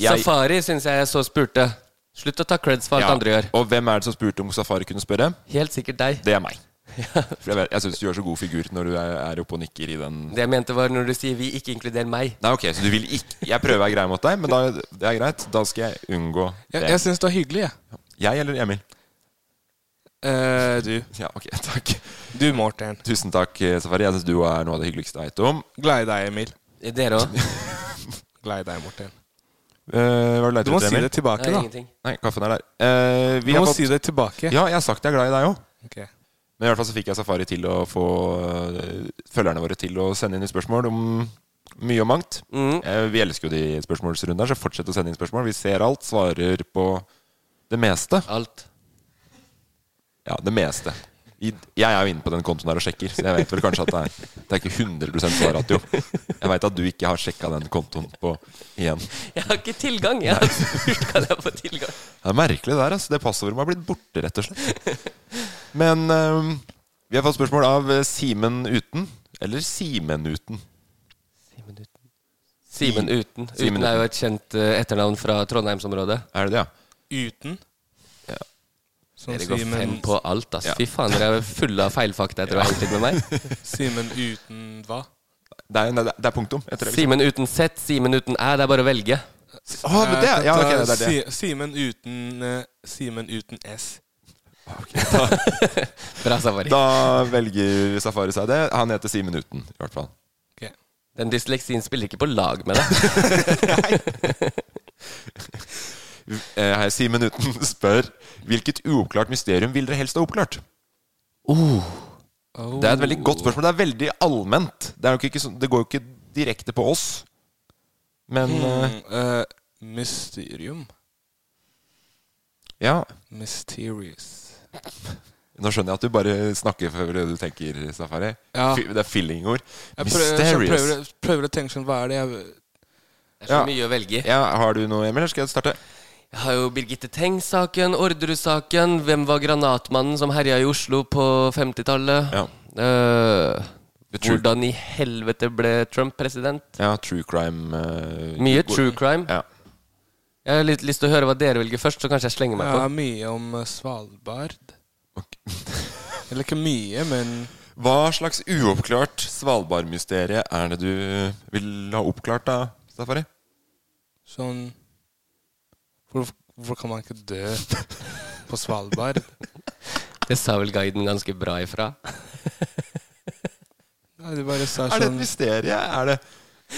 S3: Jeg-
S4: Safari syns jeg jeg så spurte. Slutt å ta creds for alt
S3: Ja.
S4: andre gjør.
S3: Og hvem er det som spurte om Safari kunne spørre?
S4: Helt sikkert deg.
S3: Det er meg. For jeg vet- jeg syns du gjør så god figur når du er, er oppe og nikker i den
S4: Det jeg mente var når du sier 'vi ikke inkluder meg'.
S3: Nei, ok, så du vil ikke Jeg prøver å være grei mot deg, men da, det er greit. Da skal jeg unngå det.
S5: Jeg, jeg syns det var hyggelig, jeg.
S3: Jeg eller Emil?
S5: Eh, du.
S3: Ja, ok, takk.
S5: Du, Morten.
S3: Tusen takk, eh, Safari. Jeg syns du er noe av det hyggeligste jeg vet om.
S5: Glad i deg, Emil.
S4: Dere òg.
S5: Glad i deg, Morten.
S3: Eh, hva er det
S5: Du
S3: du
S5: må
S3: leter
S5: si
S3: etter, Emil?
S5: det tilbake, da.
S4: Ingenting.
S3: Nei, kaffen er der. Eh, vi
S5: Du må
S3: har fått,
S5: si det tilbake.
S3: Ja, jeg har sagt jeg er glad i deg òg.
S5: Ok.
S3: Men i hvert fall så fikk jeg Safari til å få eh, følgerne våre til å sende inn spørsmål om mye og mangt. Eh, vi elsker jo de spørsmålsrundene her, så fortsett å sende inn spørsmål. Vi ser alt, svarer på det meste.
S4: Alt.
S3: Ja, det meste. I, jeg er jo inne på den kontoen der og sjekker, så jeg vet vel kanskje at det er, det er ikke 100 svarratio. Jeg veit at du ikke har sjekka den kontoen på igjen.
S4: Jeg har ikke tilgang. Jeg har spurt kan jeg få tilgang.
S3: Det er merkelig det der. Altså. Det passordet må ha blitt borte, rett og slett. Men øhm, vi har fått spørsmål av eh, Simen Uten. Eller Simen Uten.
S4: Simen Uten.
S3: Simen
S4: Uten er jo et kjent eh, etternavn fra Trondheimsområdet.
S3: Er det det, ja?
S5: Uten. Som
S4: Dere går fem
S5: Simen
S4: på alt, ass.
S3: Ja.
S4: Fy faen, dere er fulle av feilfakta etter å ha hengt litt med meg.
S5: Simen uten hva?
S3: Det er, nei, det er- det er punktum. Etter det.
S4: Simen uten Z, Simen uten Æ. Det er bare å velge.
S5: Ah,
S3: Å, men det, er- ja, ok, det er det.
S5: Eh, Si- Simen uten eh, Simen uten S.
S4: Bra safari.
S3: Da velger Safari seg det. Han heter Simen Uten, i hvert fall.
S5: Ok.
S4: Den dysleksien spiller ikke på lag med deg.
S3: Eh, Hei, Simen Uten spør hvilket uoppklart mysterium vil dere helst ha oppklart? Det er et veldig godt spørsmål. Det er veldig allment. Det, er jo ikke, sånn- det går jo ikke direkte på oss. Men eh,
S5: eh, Mysterium.
S3: ja
S5: Mysterious.
S3: Nå skjønner jeg at du bare snakker for det du tenker, Safari.
S5: Ja.
S3: Fy- Det er fillingord.
S5: Jeg prøver, så
S3: Mysterious.
S5: prøver, prøver å tenke sånn Hva er det jeg
S4: Det er så mye å velge i.
S3: Ja, Har du noe, Emil, eller skal jeg starte?
S4: Jeg har jo Birgitte Tengs-saken, Orderud-saken, hvem var granatmannen som herja i Oslo på 50-tallet? Eh,
S3: True-
S4: hvordan i helvete ble Trump president?
S3: Ja, true crime. eh,
S4: Mye
S3: god-
S4: true crime.
S3: Ja.
S4: Jeg har litt lyst til å høre hva dere velger først, så kanskje jeg slenger meg
S5: Ja,
S4: på.
S5: mye om eh, Svalbard. Eller ikke mye, men
S3: Hva slags uoppklart Svalbard-mysterie er det du vil ha oppklart, da, Safari?
S5: sånn Hvorfor hvor kan man ikke dø på Svalbard?
S4: Det sa vel guiden ganske bra ifra.
S5: Nei, du bare sa
S3: Er det et
S5: sånn
S3: mysterium? Er det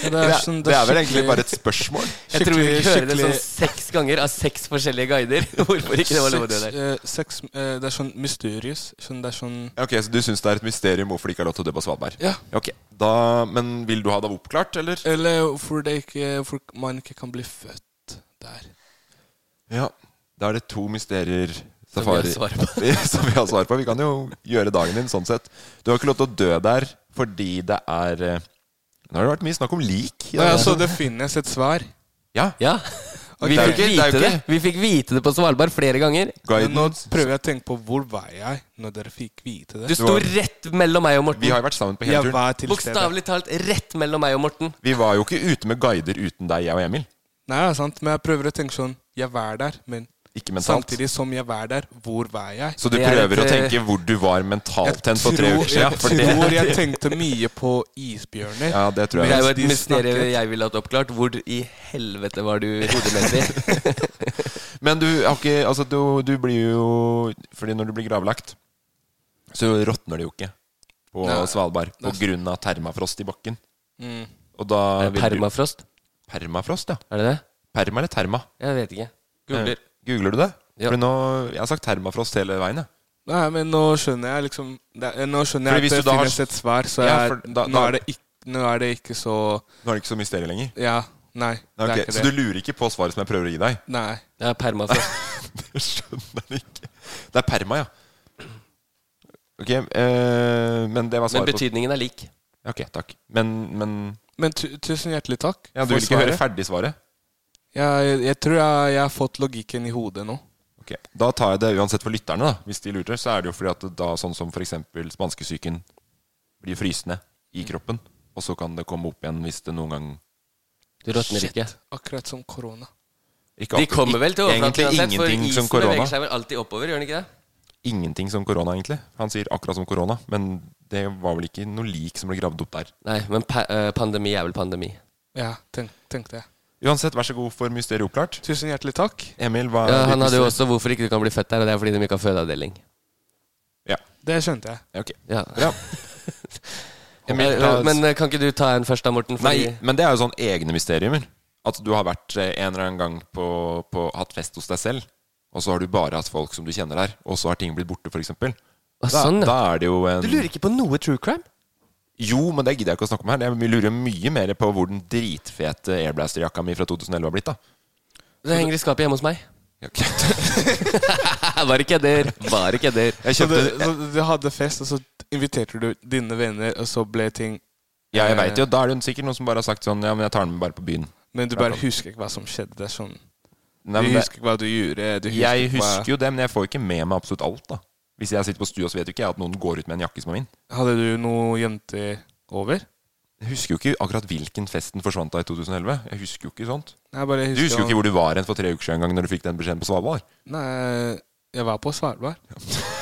S5: Ja, sånn-
S3: Det er- det er vel
S5: skikkelig-
S3: egentlig bare et spørsmål.
S4: Jeg tror vi
S5: skikkelig-
S4: hører det sånn
S5: skikkelig-
S4: seks ganger av seks forskjellige guider. Hvorfor ikke det var lov å dø
S5: Seks,
S4: der?
S5: eh, seks, eh, det er sånn mysterious. Sånn, det er sånn
S3: Ok, Så du syns det er et mysterium hvorfor det ikke er lov til å dø på Svalbard?
S5: Ja.
S3: Ok, da, Men vil du ha det oppklart, eller?
S5: Eller hvorfor det ikke- hvorfor man ikke kan bli født der.
S3: Ja. Da er det to mysterier
S4: Som vi har
S3: Safari
S4: svar på.
S3: som vi har svar på. Vi kan jo gjøre dagen din sånn sett. Du har ikke lov til å dø der fordi det er eh, Nå har det vært mye snakk om lik. i
S5: Ja,
S3: denne-
S5: så altså, det finnes et svar.
S3: ja.
S4: Ja. Vi
S3: Det er jo
S4: fikk
S3: ikke- det er jo
S4: vite det.
S3: ikke-
S4: Vi fikk vite det på Svalbard flere ganger.
S3: Guiden
S5: Nå prøver jeg å tenke på hvor var jeg når dere fikk vite
S4: Du
S5: det.
S4: sto rett mellom meg og
S3: Vi
S4: Morten.
S3: har jo vært sammen på hele
S5: Jeg
S3: turen.
S5: var til stede.
S4: Bokstavelig talt rett mellom meg og Morten.
S3: Vi var jo ikke ute med guider uten deg, jeg og Emil.
S5: Nei, det er sant, men jeg prøver å tenke sånn Jeg var der, men
S3: Ikke mentalt.
S5: samtidig som jeg var der, hvor var jeg?
S3: Så du
S4: Det er et,
S3: prøver å
S4: eh,
S3: tenke hvor du var mentalt hen for tre
S5: tror-
S3: uker siden?
S5: jeg
S3: for det-
S5: tror jeg tenkte mye på isbjørner.
S3: Ja, det tror
S4: Det er
S3: jeg.
S4: jo et
S5: de
S4: mysterium
S5: snakket.
S4: jeg ville hatt oppklart. Hvor i helvete var du hodemessig?
S3: Men du har ikke Altså, du, du blir jo Fordi når du blir gravlagt, så råtner det jo ikke på
S5: Nei.
S3: Svalbard på grunn av termafrost i bakken.
S5: Mm.
S3: Og da vil du-
S4: Permafrost?
S3: Permafrost, ja.
S4: Er det det?
S3: Perma eller terma?
S4: Jeg vet ikke. Googler.
S3: Eh, Googler du det?
S4: Ja.
S3: Fordi nå, jeg har sagt termafrost hele veien. jeg.
S5: Nei, men nå skjønner jeg liksom det, er- Nå skjønner
S3: Fordi
S5: jeg
S3: hvis
S5: at det
S3: du da har-
S5: finnes et svar, så
S3: Ja,
S5: jeg,
S3: for da-
S5: nå,
S3: da-
S5: er det ikke, nå er det ikke så
S3: Nå er det ikke så mysterium lenger.
S5: Ja, nei.
S3: Nei,
S5: Det
S3: ok,
S5: er ikke det.
S3: Så du lurer ikke på svaret som jeg prøver å gi deg?
S5: Nei.
S4: Det er permafrost.
S3: Jeg skjønner ikke. Det er perma, ja. Ok, eh, men det var
S4: Men
S3: svaret på
S4: betydningen er lik.
S3: Ok, takk. Men, men
S5: Men tu tusen hjertelig takk
S3: ja, Du vil ikke høre ferdig svaret?
S5: Jeg, jeg tror jeg, jeg har fått logikken i hodet nå.
S3: Ok, Da tar jeg det uansett for lytterne, da. Hvis de lurer, så er det jo fordi at det da sånn som f.eks. spanskesyken blir frysende i kroppen, og så kan det komme opp igjen hvis det noen gang
S4: Du råtner
S3: Shit.
S4: ikke.
S5: Akkurat som korona.
S3: ikke
S4: De
S3: akkurat-
S4: kommer vel til overflaten
S3: Egentlig
S4: uansett, for
S3: ingenting som
S4: isen
S3: korona.
S4: beveger seg vel alltid oppover, gjør den ikke det?
S3: Ingenting som korona, egentlig. Han sier akkurat som korona, men det var vel ikke noe lik som ble gravd opp der.
S4: Nei, men pa eh, pandemi er vel pandemi.
S5: Ja, tenk, tenkte jeg.
S3: Uansett, vær så god for mysteriet oppklart.
S5: Tusen hjertelig takk.
S3: Emil, hva
S4: Ja,
S3: er
S4: han
S3: ditt
S4: hadde jo
S3: mysterium?
S4: også 'hvorfor ikke du kan bli født der', og det er fordi de ikke har fødeavdeling.
S3: Ja,
S5: Det skjønte jeg.
S3: ok.
S4: Ja.
S3: Bra. Emil,
S4: Eh,
S3: ta-
S4: Men eh, kan ikke du ta en først da, Morten? Fordi
S3: Nei, men det er jo sånn egne mysteriumer. At du har vært eh, en eller annen gang på, på hatt fest hos deg selv, og så har du bare hatt folk som du kjenner der, og så har ting blitt borte, f.eks.
S4: Å,
S3: Da,
S4: sånn, ja.
S3: da er det jo en
S4: Du lurer ikke på noe true crime?
S3: Jo, men det gidder jeg ikke å snakke om her. Jeg lurer mye mer på hvor den dritfete airblasterjakka mi fra 2011 har blitt, da.
S4: Det henger i skapet hjemme hos meg.
S3: Ja, ok.
S4: Bare kødder. Bare kødder.
S3: Jeg
S5: Så
S3: kjøpte
S5: det- så du hadde fest, og så inviterte du dine venner, og så ble ting
S3: Ja, jeg veit jo. Da er det sikkert noen som bare har sagt sånn Ja, men jeg tar den med bare på byen.
S5: Men du bare husker ikke hva som skjedde. Det er sånn
S3: Nei,
S5: Du
S3: men det,
S5: husker ikke hva du gjorde. Du husker
S3: jeg
S5: ikke hva-
S3: husker jo det, men jeg får ikke med meg absolutt alt, da. Hvis jeg sitter på stua, så vet jo ikke jeg at noen går ut med en jakke som er min.
S5: Hadde du noe jente over?
S3: Jeg husker jo ikke akkurat hvilken fest den forsvant av i 2011. Jeg husker jo ikke sånt.
S5: Nei, jeg bare
S3: Du husker jo ikke hvor du var hen for tre uker siden en gang når du fikk den beskjeden på Svalbard.
S5: Nei, jeg var på Svalbard.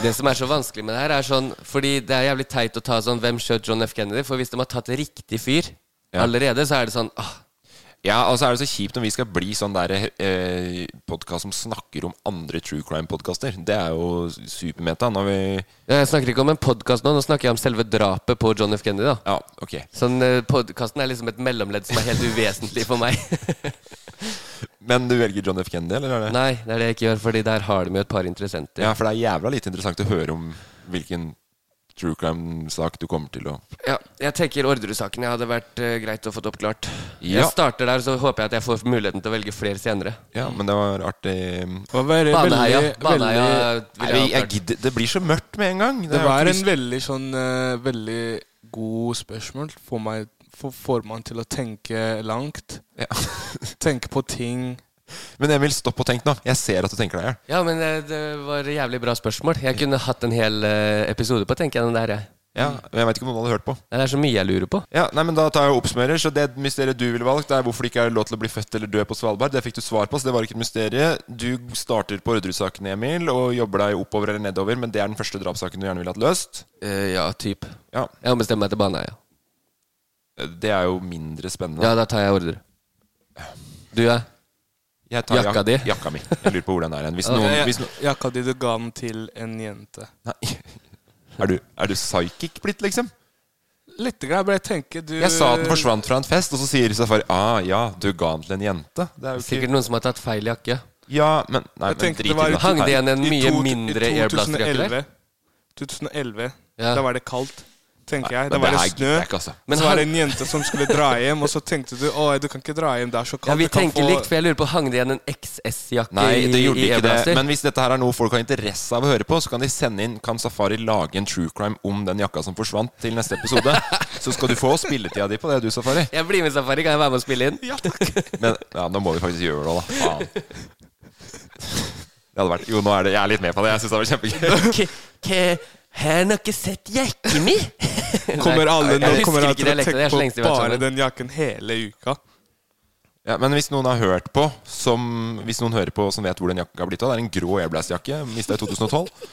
S4: Det som er så vanskelig med det her, er sånn Fordi det er jævlig teit å ta sånn 'Hvem skjøt John F. Kennedy?' For hvis de har tatt riktig fyr
S3: Ja.
S4: allerede, så er det sånn ah,
S3: Ja, og så er det så kjipt når vi skal bli sånn der eh, podkast som snakker om andre true crime-podkaster. Det er jo supermeta når vi
S4: Jeg snakker ikke om en podkast nå, nå snakker jeg om selve drapet på John F. Kennedy. da
S3: Ja, ok.
S4: eh, Sånn, Podkasten er liksom et mellomledd som er helt uvesentlig for meg.
S3: Men du velger John F. Kennedy, eller? er det?
S4: Nei, det er det jeg ikke gjør, Fordi der har de jo et par interessenter.
S3: Ja, for det er jævla lite interessant å høre om hvilken true crime-sak du kommer til å
S4: Ja, jeg tenker Orderud-saken jeg hadde vært eh, greit å få oppklart.
S3: Ja.
S4: Jeg starter der, så håper jeg at jeg får muligheten til å velge flere senere.
S3: Ja, men det var artig.
S4: Baneheia. Baneheia vil
S3: Nei,
S4: jeg
S3: jeg,
S4: ha
S3: jeg
S4: klart.
S3: gidder, det blir så mørkt med en gang.
S5: Det,
S3: er jo
S5: var
S3: ikke
S5: en
S3: lyst-
S5: veldig sånn eh, Veldig god spørsmål. Får, meg, får, får man til å tenke langt. tenke på ting
S3: Men Emil, stopp og tenk nå. Jeg ser at du tenker deg i hjel.
S4: Ja, men eh, det var et jævlig bra spørsmål. Jeg kunne hatt en hel eh, episode på, tenker jeg, den der, jeg.
S3: Ja, men jeg vet ikke om noen hadde hørt på.
S4: Nei, det er så mye jeg lurer på.
S3: Ja, nei, men Da tar jeg og oppsummerer. Så det mysteriet du ville valgt, er hvorfor det ikke er lov til å bli født eller dø på Svalbard. Det fikk du svar på, så det var ikke et mysterium. Du starter på Rødrud-saken, Emil, og jobber deg oppover eller nedover, men det er den første drapssaken du gjerne ville hatt løst.
S4: Eh, ja, typ.
S3: Ja.
S4: Jeg må bestemme meg til Baneheia.
S3: Det er jo mindre spennende.
S4: Ja, da tar jeg ordre. Du, ja?
S3: Jeg tar
S4: Jakka di?
S3: Jakka mi. Jeg lurer på hvor den er hen. Hvis
S5: Ja,
S3: noen
S5: ja,
S3: hvis no
S5: Jakka di du ga den til en jente.
S3: er, du, er du psychic blitt, liksom?
S5: Litt, grann, men jeg tenker du
S3: Jeg sa at den forsvant fra en fest, og så sier Safari ah, ja, du ga den til en jente. Det er jo ikke
S4: Sikkert noen som har tatt feil jakke.
S3: Ja, men
S5: Jeg
S3: Nei, men
S5: tenkte
S3: drit i
S5: det var
S3: det.
S5: i-
S4: Hang det igjen en
S5: eh, i
S4: mye
S5: to- i
S4: mindre airblaster-jakke der?
S5: 2011. 2011.
S4: Ja.
S5: Da var det kaldt, tenker jeg. Da
S3: men
S5: var
S3: det
S5: det
S3: her
S5: snø.
S3: gidder jeg ikke, altså.
S4: Men
S5: så var det
S4: han-
S5: en jente som skulle dra hjem, og så tenkte du å, du kan ikke dra hjem, det er så kaldt.
S4: Ja, vi
S5: du kan
S4: tenker
S5: få-
S4: likt, for jeg lurer på Hang det igjen en XS-jakke
S3: Nei, det gjorde
S4: i
S3: ikke det.
S4: e-blaster?
S3: Men hvis dette her er noe folk har interesse av å høre på, så kan de sende inn Kan Safari lage en true crime om den jakka som forsvant, til neste episode. Så skal du få spilletida di på det, du, Safari.
S4: Jeg blir med Safari, kan jeg være med og spille inn?
S3: Men ja, nå må vi faktisk gjøre det, da. Faen. Det hadde vært Jo, nå er det Jeg er litt med på det. Jeg syns det var kjempegøy.
S4: K- k- Har dere sett jakken min?
S5: Kommer alle
S4: Jeg
S5: nå
S4: husker
S5: kommer alle
S4: ikke
S5: til å
S4: dialekten, det
S5: tenke
S4: er så lenge
S5: på
S4: siden vi har vært
S5: bare
S4: sammen.
S5: den jakken hele uka?
S3: Ja, men hvis noen har hørt på, som Hvis noen hører på som vet hvor den jakka har blitt av, det er en grå Airblast-jakke, mista i 2012.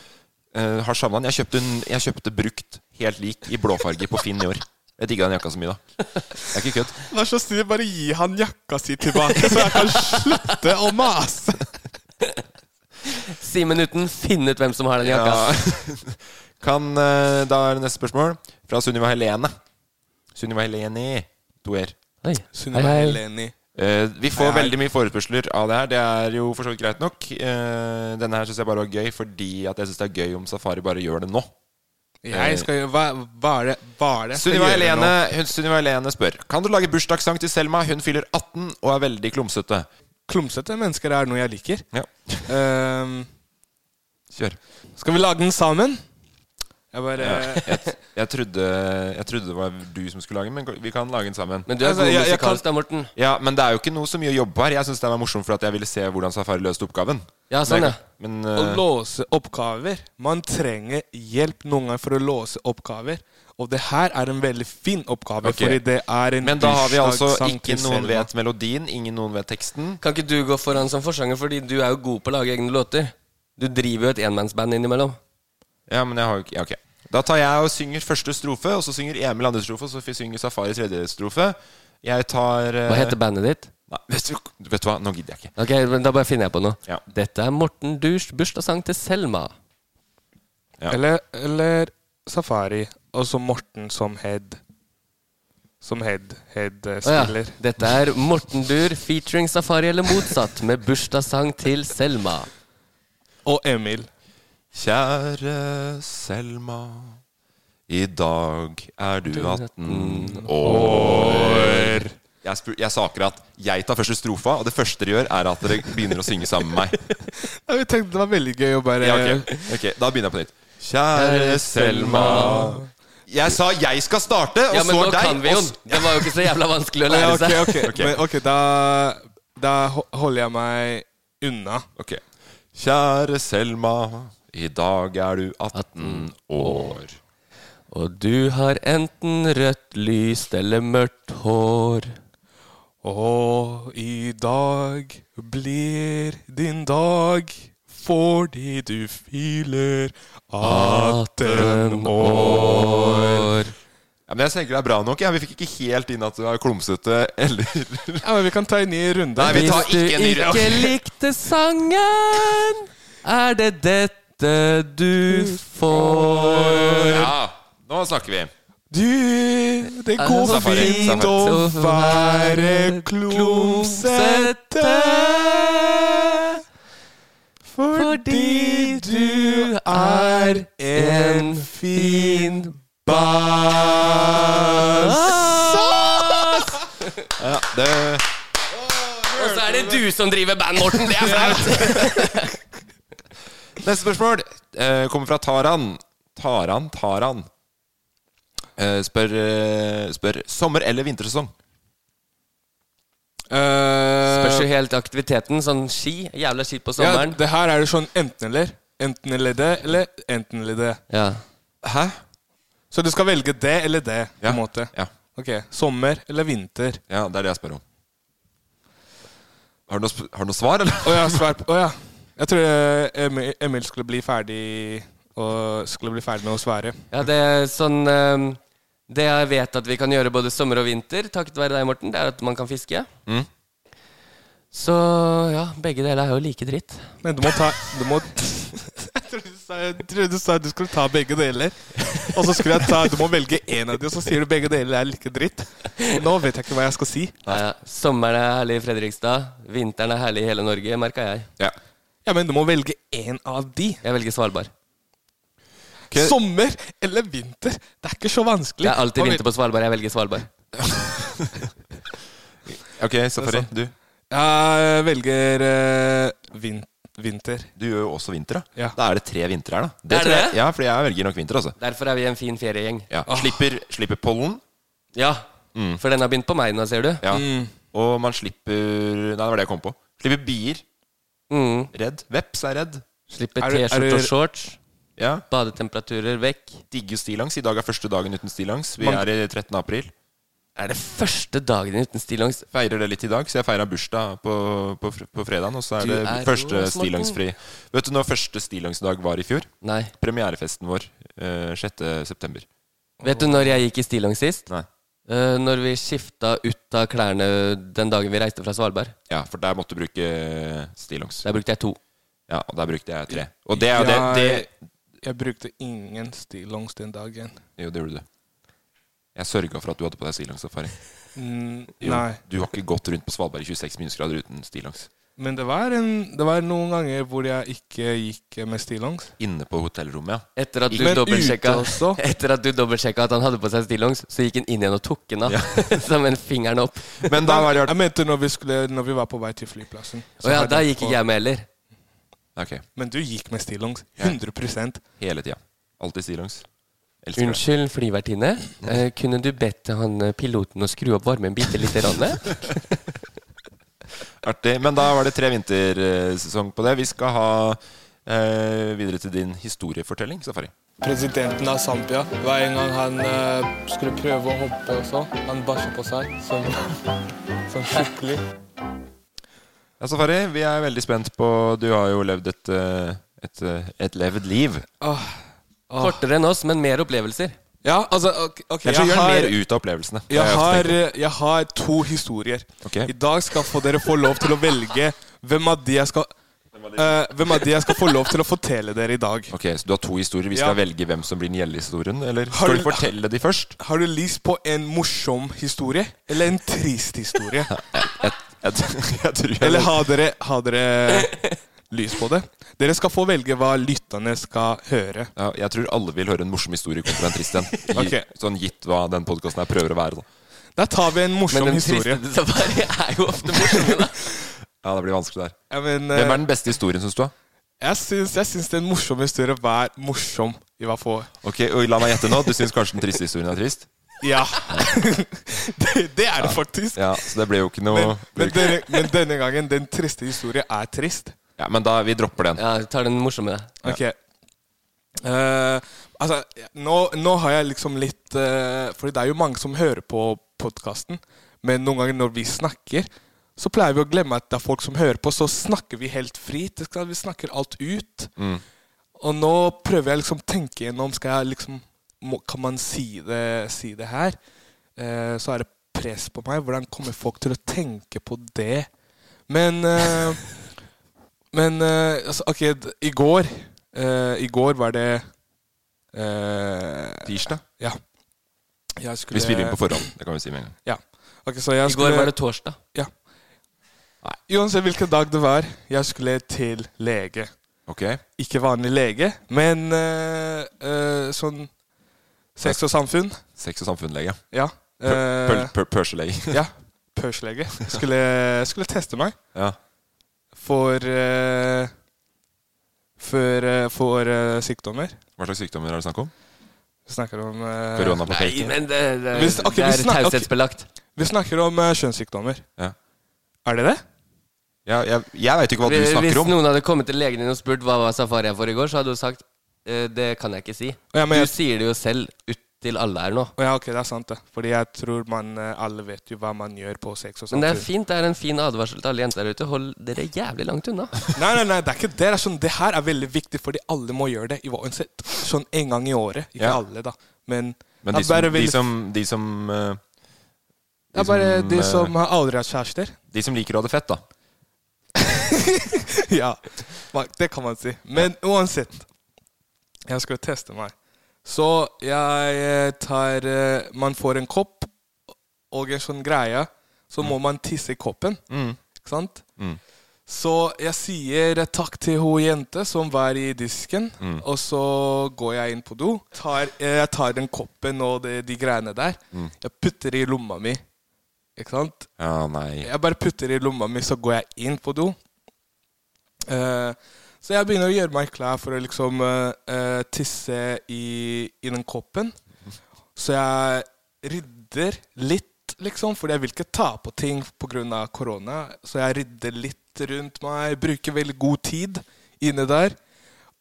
S3: Eh, har savna den. Jeg kjøpte, en, jeg kjøpte brukt, helt lik, i blåfarge på Finn i år. Jeg digga den jakka så mye, da. Det er ikke kødd.
S5: Vær så snill, bare gi han jakka si tilbake, så jeg kan slutte å mase.
S4: Simen uten finn ut hvem som har den jakka.
S3: Ja. Kan, eh, da er det neste spørsmål. Fra Sunniva Helene. Sunniva Helene. To r.
S4: Oi.
S5: Sunniva
S4: Hei, hei.
S5: Heleni.
S3: Eh, vi får
S5: Hei, hei.
S3: veldig mye forespørsler av det her. Det er jo for så vidt greit nok. Eh, denne her syns jeg bare var gøy fordi at jeg syns det er gøy om Safari bare gjør det nå.
S5: Jeg skal gjøre Hva, hva er det Hva er det jeg skal
S3: Sunniva
S5: gjøre
S3: Helene,
S5: nå?
S3: hun- Sunniva Helene spør Kan du lage bursdagssang til Selma. Hun fyller 18 og er veldig klumsete.
S5: Klumsete mennesker er noe jeg liker.
S3: Ja,
S5: Ehm,
S3: kjør.
S5: skal vi lage den sammen? Jeg bare
S3: Ja, jeg, jeg, trodde, jeg trodde det var du som skulle lage den, men vi kan lage den sammen.
S4: Men du er
S5: Altså,
S4: god
S5: jeg- jeg
S4: musikalsk da, Morten.
S3: Ja, Men det er jo ikke noe så mye å jobbe her. Jeg syns den var morsom fordi at jeg ville se hvordan Safari løste oppgaven.
S4: Ja, sånn,
S3: men,
S4: ja.
S3: jeg- men,
S5: Å
S3: eh,
S5: låse oppgaver. Man trenger hjelp noen ganger for å låse oppgaver. Og det her er en veldig fin oppgave,
S3: Ok.
S5: fordi det er en
S3: men da har vi altså
S5: bursdagssang
S3: ikke
S5: til
S3: noen
S5: Selma.
S3: vet melodien, ingen noen vet teksten.
S4: Kan ikke du gå foran som forsanger, fordi du er jo god på å lage egne låter? Du driver jo et enmannsband innimellom.
S3: Ja, men jeg har jo ikke ja, Ok. Da tar jeg og synger første strofe, og så synger Emil andre strofe, og så synger Safari tredje strofe. Jeg tar eh,
S4: Hva heter bandet ditt?
S3: Nei, vet du, vet du hva, nå gidder jeg ikke.
S4: Ok, men Da bare finner jeg på noe.
S3: Ja.
S4: Dette er Morten Durs bursdagssang til Selma.
S3: Ja.
S5: Eller, eller Safari, og så Morten som head. Som head, eh,
S4: Å ja.
S5: head-spiller.
S4: Dette er Morten Dur featuring Safari eller motsatt med bursdagssang til Selma.
S5: Og Emil.
S3: Kjære Selma, i dag er du 18 år. Jeg, spur, jeg sa akkurat jeg tar første strofa, og det første dere gjør, er at dere begynner å synge sammen med meg.
S5: Ja, vi tenkte det var veldig gøy å bare
S3: Ja, ok. ok, Da begynner jeg på nytt. Kjære Selma Jeg sa jeg skal starte, og
S4: Ja, men
S3: så
S4: nå
S3: deg.
S4: kan vi
S3: og
S4: jo
S3: s-
S4: den. Det var jo ikke så jævla vanskelig å
S5: Ja,
S4: lære
S5: ok,
S4: seg.
S5: ok. Men, ok, da, da ho- holder jeg meg unna.
S3: Ok. Kjære Selma, i dag er du 18 år.
S4: Og du har enten rødt lyst eller mørkt hår.
S5: Og i dag blir din dag fordi du fyller 18 år.
S3: Ja, men jeg tenker det er bra nok. Ja. Vi fikk ikke helt inn at du er klumsete eller
S5: Ja, men Vi kan ta en ny runde.
S3: Nei, vi tar
S4: Hvis du
S3: ikke en ny runde.
S4: ikke likte sangen, er det dette du får.
S3: Ja, nå snakker vi.
S5: Du, det går
S3: Safari,
S5: fint
S3: safari.
S5: å være klumsete fordi du er en fin Ah! bass.
S3: Ja, det
S4: Og så er det du som driver band, Morten! Det er flaut!
S3: Neste spørsmål eh, kommer fra Taran. Taran, Taran. Eh, spør, eh, spør sommer- eller vintersesong. Eh,
S4: Spørs jo helt aktiviteten. Sånn ski. Jævla skitt på sommeren.
S5: Ja, det her er jo sånn enten eller. Enten eller det, eller enten eller det.
S3: Hæ?
S5: Så du skal velge det eller det, på en måte?
S3: Ja.
S5: Ok, Sommer eller vinter?
S3: Ja, det er det jeg spør om. Har du noe, sp- har du noe svar, eller?
S5: Å ja, svar på Å ja. Jeg tror eh, Emil, Emil skulle bli ferdig og skulle bli ferdig med å svare.
S4: Ja, det er sånn ehm, Det jeg vet at vi kan gjøre både sommer og vinter, takket være deg, Morten, det er at man kan fiske.
S3: Mm.
S4: Så ja, begge deler er jo like dritt.
S5: Men du må ta du må, Jeg trodde du sa- jeg trodde du sa du skulle ta begge deler. Og så skulle jeg ta Du må velge én av de, og så sier du begge deler er like dritt. Nå vet jeg ikke hva jeg skal si.
S4: Ja, ja. Eh, Sommeren er herlig i Fredrikstad. Vinteren er herlig i hele Norge, merka jeg.
S3: Ja.
S5: men du må velge én av de.
S4: Jeg velger Svalbard.
S5: Sommer eller vinter? Det er ikke så vanskelig.
S4: Det er alltid
S5: Hva
S4: vinter
S5: vil-
S4: på Svalbard. Jeg velger Svalbard.
S3: Ok,
S5: Det
S3: Safari,
S5: er sant.
S3: du.
S5: Jeg velger eh, vin vinter.
S3: Du gjør jo også vinter, da.
S5: Ja.
S3: Da er det tre vintre her, da.
S4: Er det
S3: tror jeg-
S4: det?
S3: Ja, fordi jeg velger nok vinter, altså.
S4: Derfor er vi en fin feriegjeng.
S3: Ja. Slipper, slipper pollen.
S4: Ja, for den har begynt på meg nå, ser du.
S3: Ja.
S4: Mm.
S3: Og man slipper Nei, det var det jeg kom på. Slipper bier.
S4: Mm.
S3: Redd. Veps er redd.
S4: Slipper T-skjorte og shorts.
S3: Ja.
S4: Badetemperaturer vekk.
S3: Digger stillongs. I dag er første dagen uten stillongs. Vi
S4: Man-
S3: er i 13. april.
S4: Er det første dagen uten stillongs?
S3: Feirer det litt i dag, så jeg feira bursdag på, på, fr- på fredagen. Og så er
S4: Du
S3: det
S4: er
S3: første
S4: råsmarten.
S3: stillongsfri. Vet du når første stillongsdag var i fjor?
S4: Nei.
S3: Premierefesten vår eh, 6. september.
S4: Vet du når jeg gikk i stillongs sist?
S3: Nei.
S4: Eh, når vi skifta ut av klærne den dagen vi reiste fra Svalbard.
S3: Ja, for der måtte du bruke stillongs.
S4: Der brukte jeg to.
S3: Ja, og der brukte jeg tre. Og det er jo det,
S5: Jeg,
S3: det
S5: jeg brukte ingen stillongs den dagen.
S3: Jo, det gjorde du. Jeg sørga for at du hadde på deg stillongssafari.
S5: Mm,
S3: Jo,
S5: nei.
S3: Du har ikke gått rundt på Svalbard i 26 minusgrader uten stillongs.
S5: Men det var, en, det var noen ganger hvor jeg ikke gikk med stillongs.
S3: Inne på hotellrommet, ja.
S4: Etter at du
S5: Men ute
S4: dobbeltsjekka
S5: også?
S4: Etter at du dobbeltsjekka at han hadde på seg stillongs, så gikk han inn igjen og tok den av. Som en fingeren opp.
S3: Men da var det
S5: Jeg mente når vi, skulle, når vi var på vei til flyplassen. Så
S4: Og ja,
S5: hadde
S4: da
S5: jeg
S4: gikk
S5: på-
S4: ikke jeg med heller.
S3: Ok,
S5: Men du gikk med stillongs. 100
S3: Hele tida. Alltid stillongs. Elsker det.
S4: Unnskyld, flyvertinne. Eh, kunne du bedt han eh, piloten å skru opp varmen bitte lite grann?
S3: Artig. Men da var det tre vintersesong på det. Vi skal ha eh, videre til din historiefortelling, Safari.
S5: Presidenten av Zambia, hver gang han eh, skulle prøve å hoppe og så, han bæsja på seg sånn, skikkelig.
S3: Ja, Safari, vi er veldig spent på Du har jo levd et, eh, et, eh, et levd liv.
S4: Kortere enn oss, men mer opplevelser.
S5: Ja, altså, ok, ok,
S3: Jeg tror
S5: jeg
S3: gjør mer
S5: har,
S3: ut av opplevelsene. Det
S5: jeg,
S3: ofte
S5: har,
S3: tenkt
S5: eh, jeg har to historier.
S3: Ok.
S5: I dag skal få dere få lov til å velge hvem av de jeg skal eh, hvem av de jeg skal få lov til å fortelle dere i dag.
S3: på. Ok, Så du har to historier. Vi
S5: Ja.
S3: skal velge hvem som blir den gjeldende historien? Eller
S5: Har
S3: skal
S5: du-
S3: du fortelle de først?
S5: Har du lyst på en morsom historie eller en trist historie?
S3: Jeg, t- jeg tror jeg
S5: Eller har dere, har dere lyst på det? Dere skal få velge hva lytterne skal høre.
S3: ja, jeg tror alle vil høre en morsom historie kontra en trist en. I-
S5: Ok.
S3: Sånn gitt hva den podkasten her prøver å være. Da.
S5: Da tar vi en morsom
S4: Men den
S5: historie.
S4: triste safari er jo ofte morsomme, da.
S3: Ja, det blir vanskelig der.
S5: Ja, men, eh,
S3: Hvem er den beste historien, syns du? da?
S5: jeg, syns, jeg syns den morsomme historien var morsom. I hvert fall.
S3: Ok, og La meg gjette nå. Du syns kanskje den triste historien er trist?
S5: Ja. det, det er det faktisk.
S3: Ja, så det ble jo ikke noe
S5: Men, men,
S3: ble jo ikke-
S5: denne, men denne gangen, den triste historien er trist.
S3: Ja, men da, vi dropper den.
S4: Ja, tar den morsomme, da.
S5: Ok. Eh, altså, nå, nå har jeg liksom litt uh, Fordi det er jo mange som hører på podkasten. Men noen ganger når vi snakker, så pleier vi å glemme at det er folk som hører på. Så snakker vi helt fritt. Det skal- Vi snakker alt ut. Og nå prøver jeg liksom å tenke gjennom Skal jeg liksom må, Kan man si det, si det her? Eh, så er det press på meg. Hvordan kommer folk til å tenke på det? Men eh, Men eh, altså, OK, d- i går eh, I går var det eh,
S3: Tirsdag?
S5: Ja. Jeg skulle-
S3: Vi spiller inn på forhånd. Det kan vi si med en gang.
S5: Ja. Ok, så jeg
S4: I går
S5: skulle-
S4: var det torsdag.
S5: Ja. Nei, uansett hvilken dag det var, jeg skulle til lege.
S3: Ok.
S5: Ikke vanlig lege, men eh, eh, sånn sex og samfunn.
S3: Sex og samfunn-lege.
S5: Ja. eh,
S3: Pø- pøl- pøl- Pørselege.
S5: ja. Pørselege. Skulle, skulle teste meg.
S3: Ja.
S5: For eh, For, eh, for eh, sykdommer.
S3: Hva slags sykdommer er det snakk om?
S5: Vi snakker om eh,
S3: Korona på feltet. Nei, men det- det-
S5: Vi sn- ok,
S3: det
S5: vi
S3: er
S5: snak- ok.
S3: taushetsbelagt.
S5: Vi snakker om eh, kjønnssykdommer.
S3: Ja.
S5: Er det det?
S3: Ja, jeg jeg veit ikke hva du
S4: Hvis-
S3: snakker
S4: Hvis
S3: om.
S4: noen hadde kommet til legen din og spurt hva var safari her for i går, så hadde du sagt «Eh, det kan jeg ikke si.
S5: Ja, men
S4: du
S5: jeg-
S4: sier det jo selv ut til alle her nå.
S5: Å Ja, ok, det er sant det. Fordi jeg tror man, eh, alle vet jo hva man gjør på sex og sånt.
S4: Men det er fint, det er en fin advarsel til alle jenter der ute. Hold dere jævlig langt unna.
S5: Nei, nei, nei, det er ikke det. Det, er sånn, det her er veldig viktig, fordi alle må gjøre det. i uansett. Sånn en gang i året. Ikke
S3: Ja.
S5: alle, da. Men, det er
S3: Men de som,
S5: bare
S3: de
S5: veldig-
S3: som, de som, eh,
S5: Det er bare de
S3: eh,
S5: som har aldri hatt kjærester.
S3: De som liker å ha det fett, da.
S5: ja, ma- det kan man si. Men uansett, jeg skal teste meg. Så jeg eh, tar eh, Man får en kopp og en sånn greie. Så må man tisse i koppen.
S3: Mm.
S5: Ikke sant?
S3: Mm.
S5: Så jeg sier eh, takk til hun jente som var i disken.
S3: Mm.
S5: Og så går jeg inn på do. Tar, eh, jeg tar den koppen og de, de greiene der.
S3: Mm.
S5: Jeg putter i lomma mi. Ikke sant?
S3: Ja, nei.
S5: Jeg bare putter i lomma mi, så går jeg inn på do. Eh, så jeg begynner å gjøre meg klar for å liksom eh, eh, tisse i, i den koppen. Så jeg rydder litt, liksom, fordi jeg vil ikke ta på ting pga. korona. Så jeg rydder litt rundt meg, bruker veldig god tid inne der.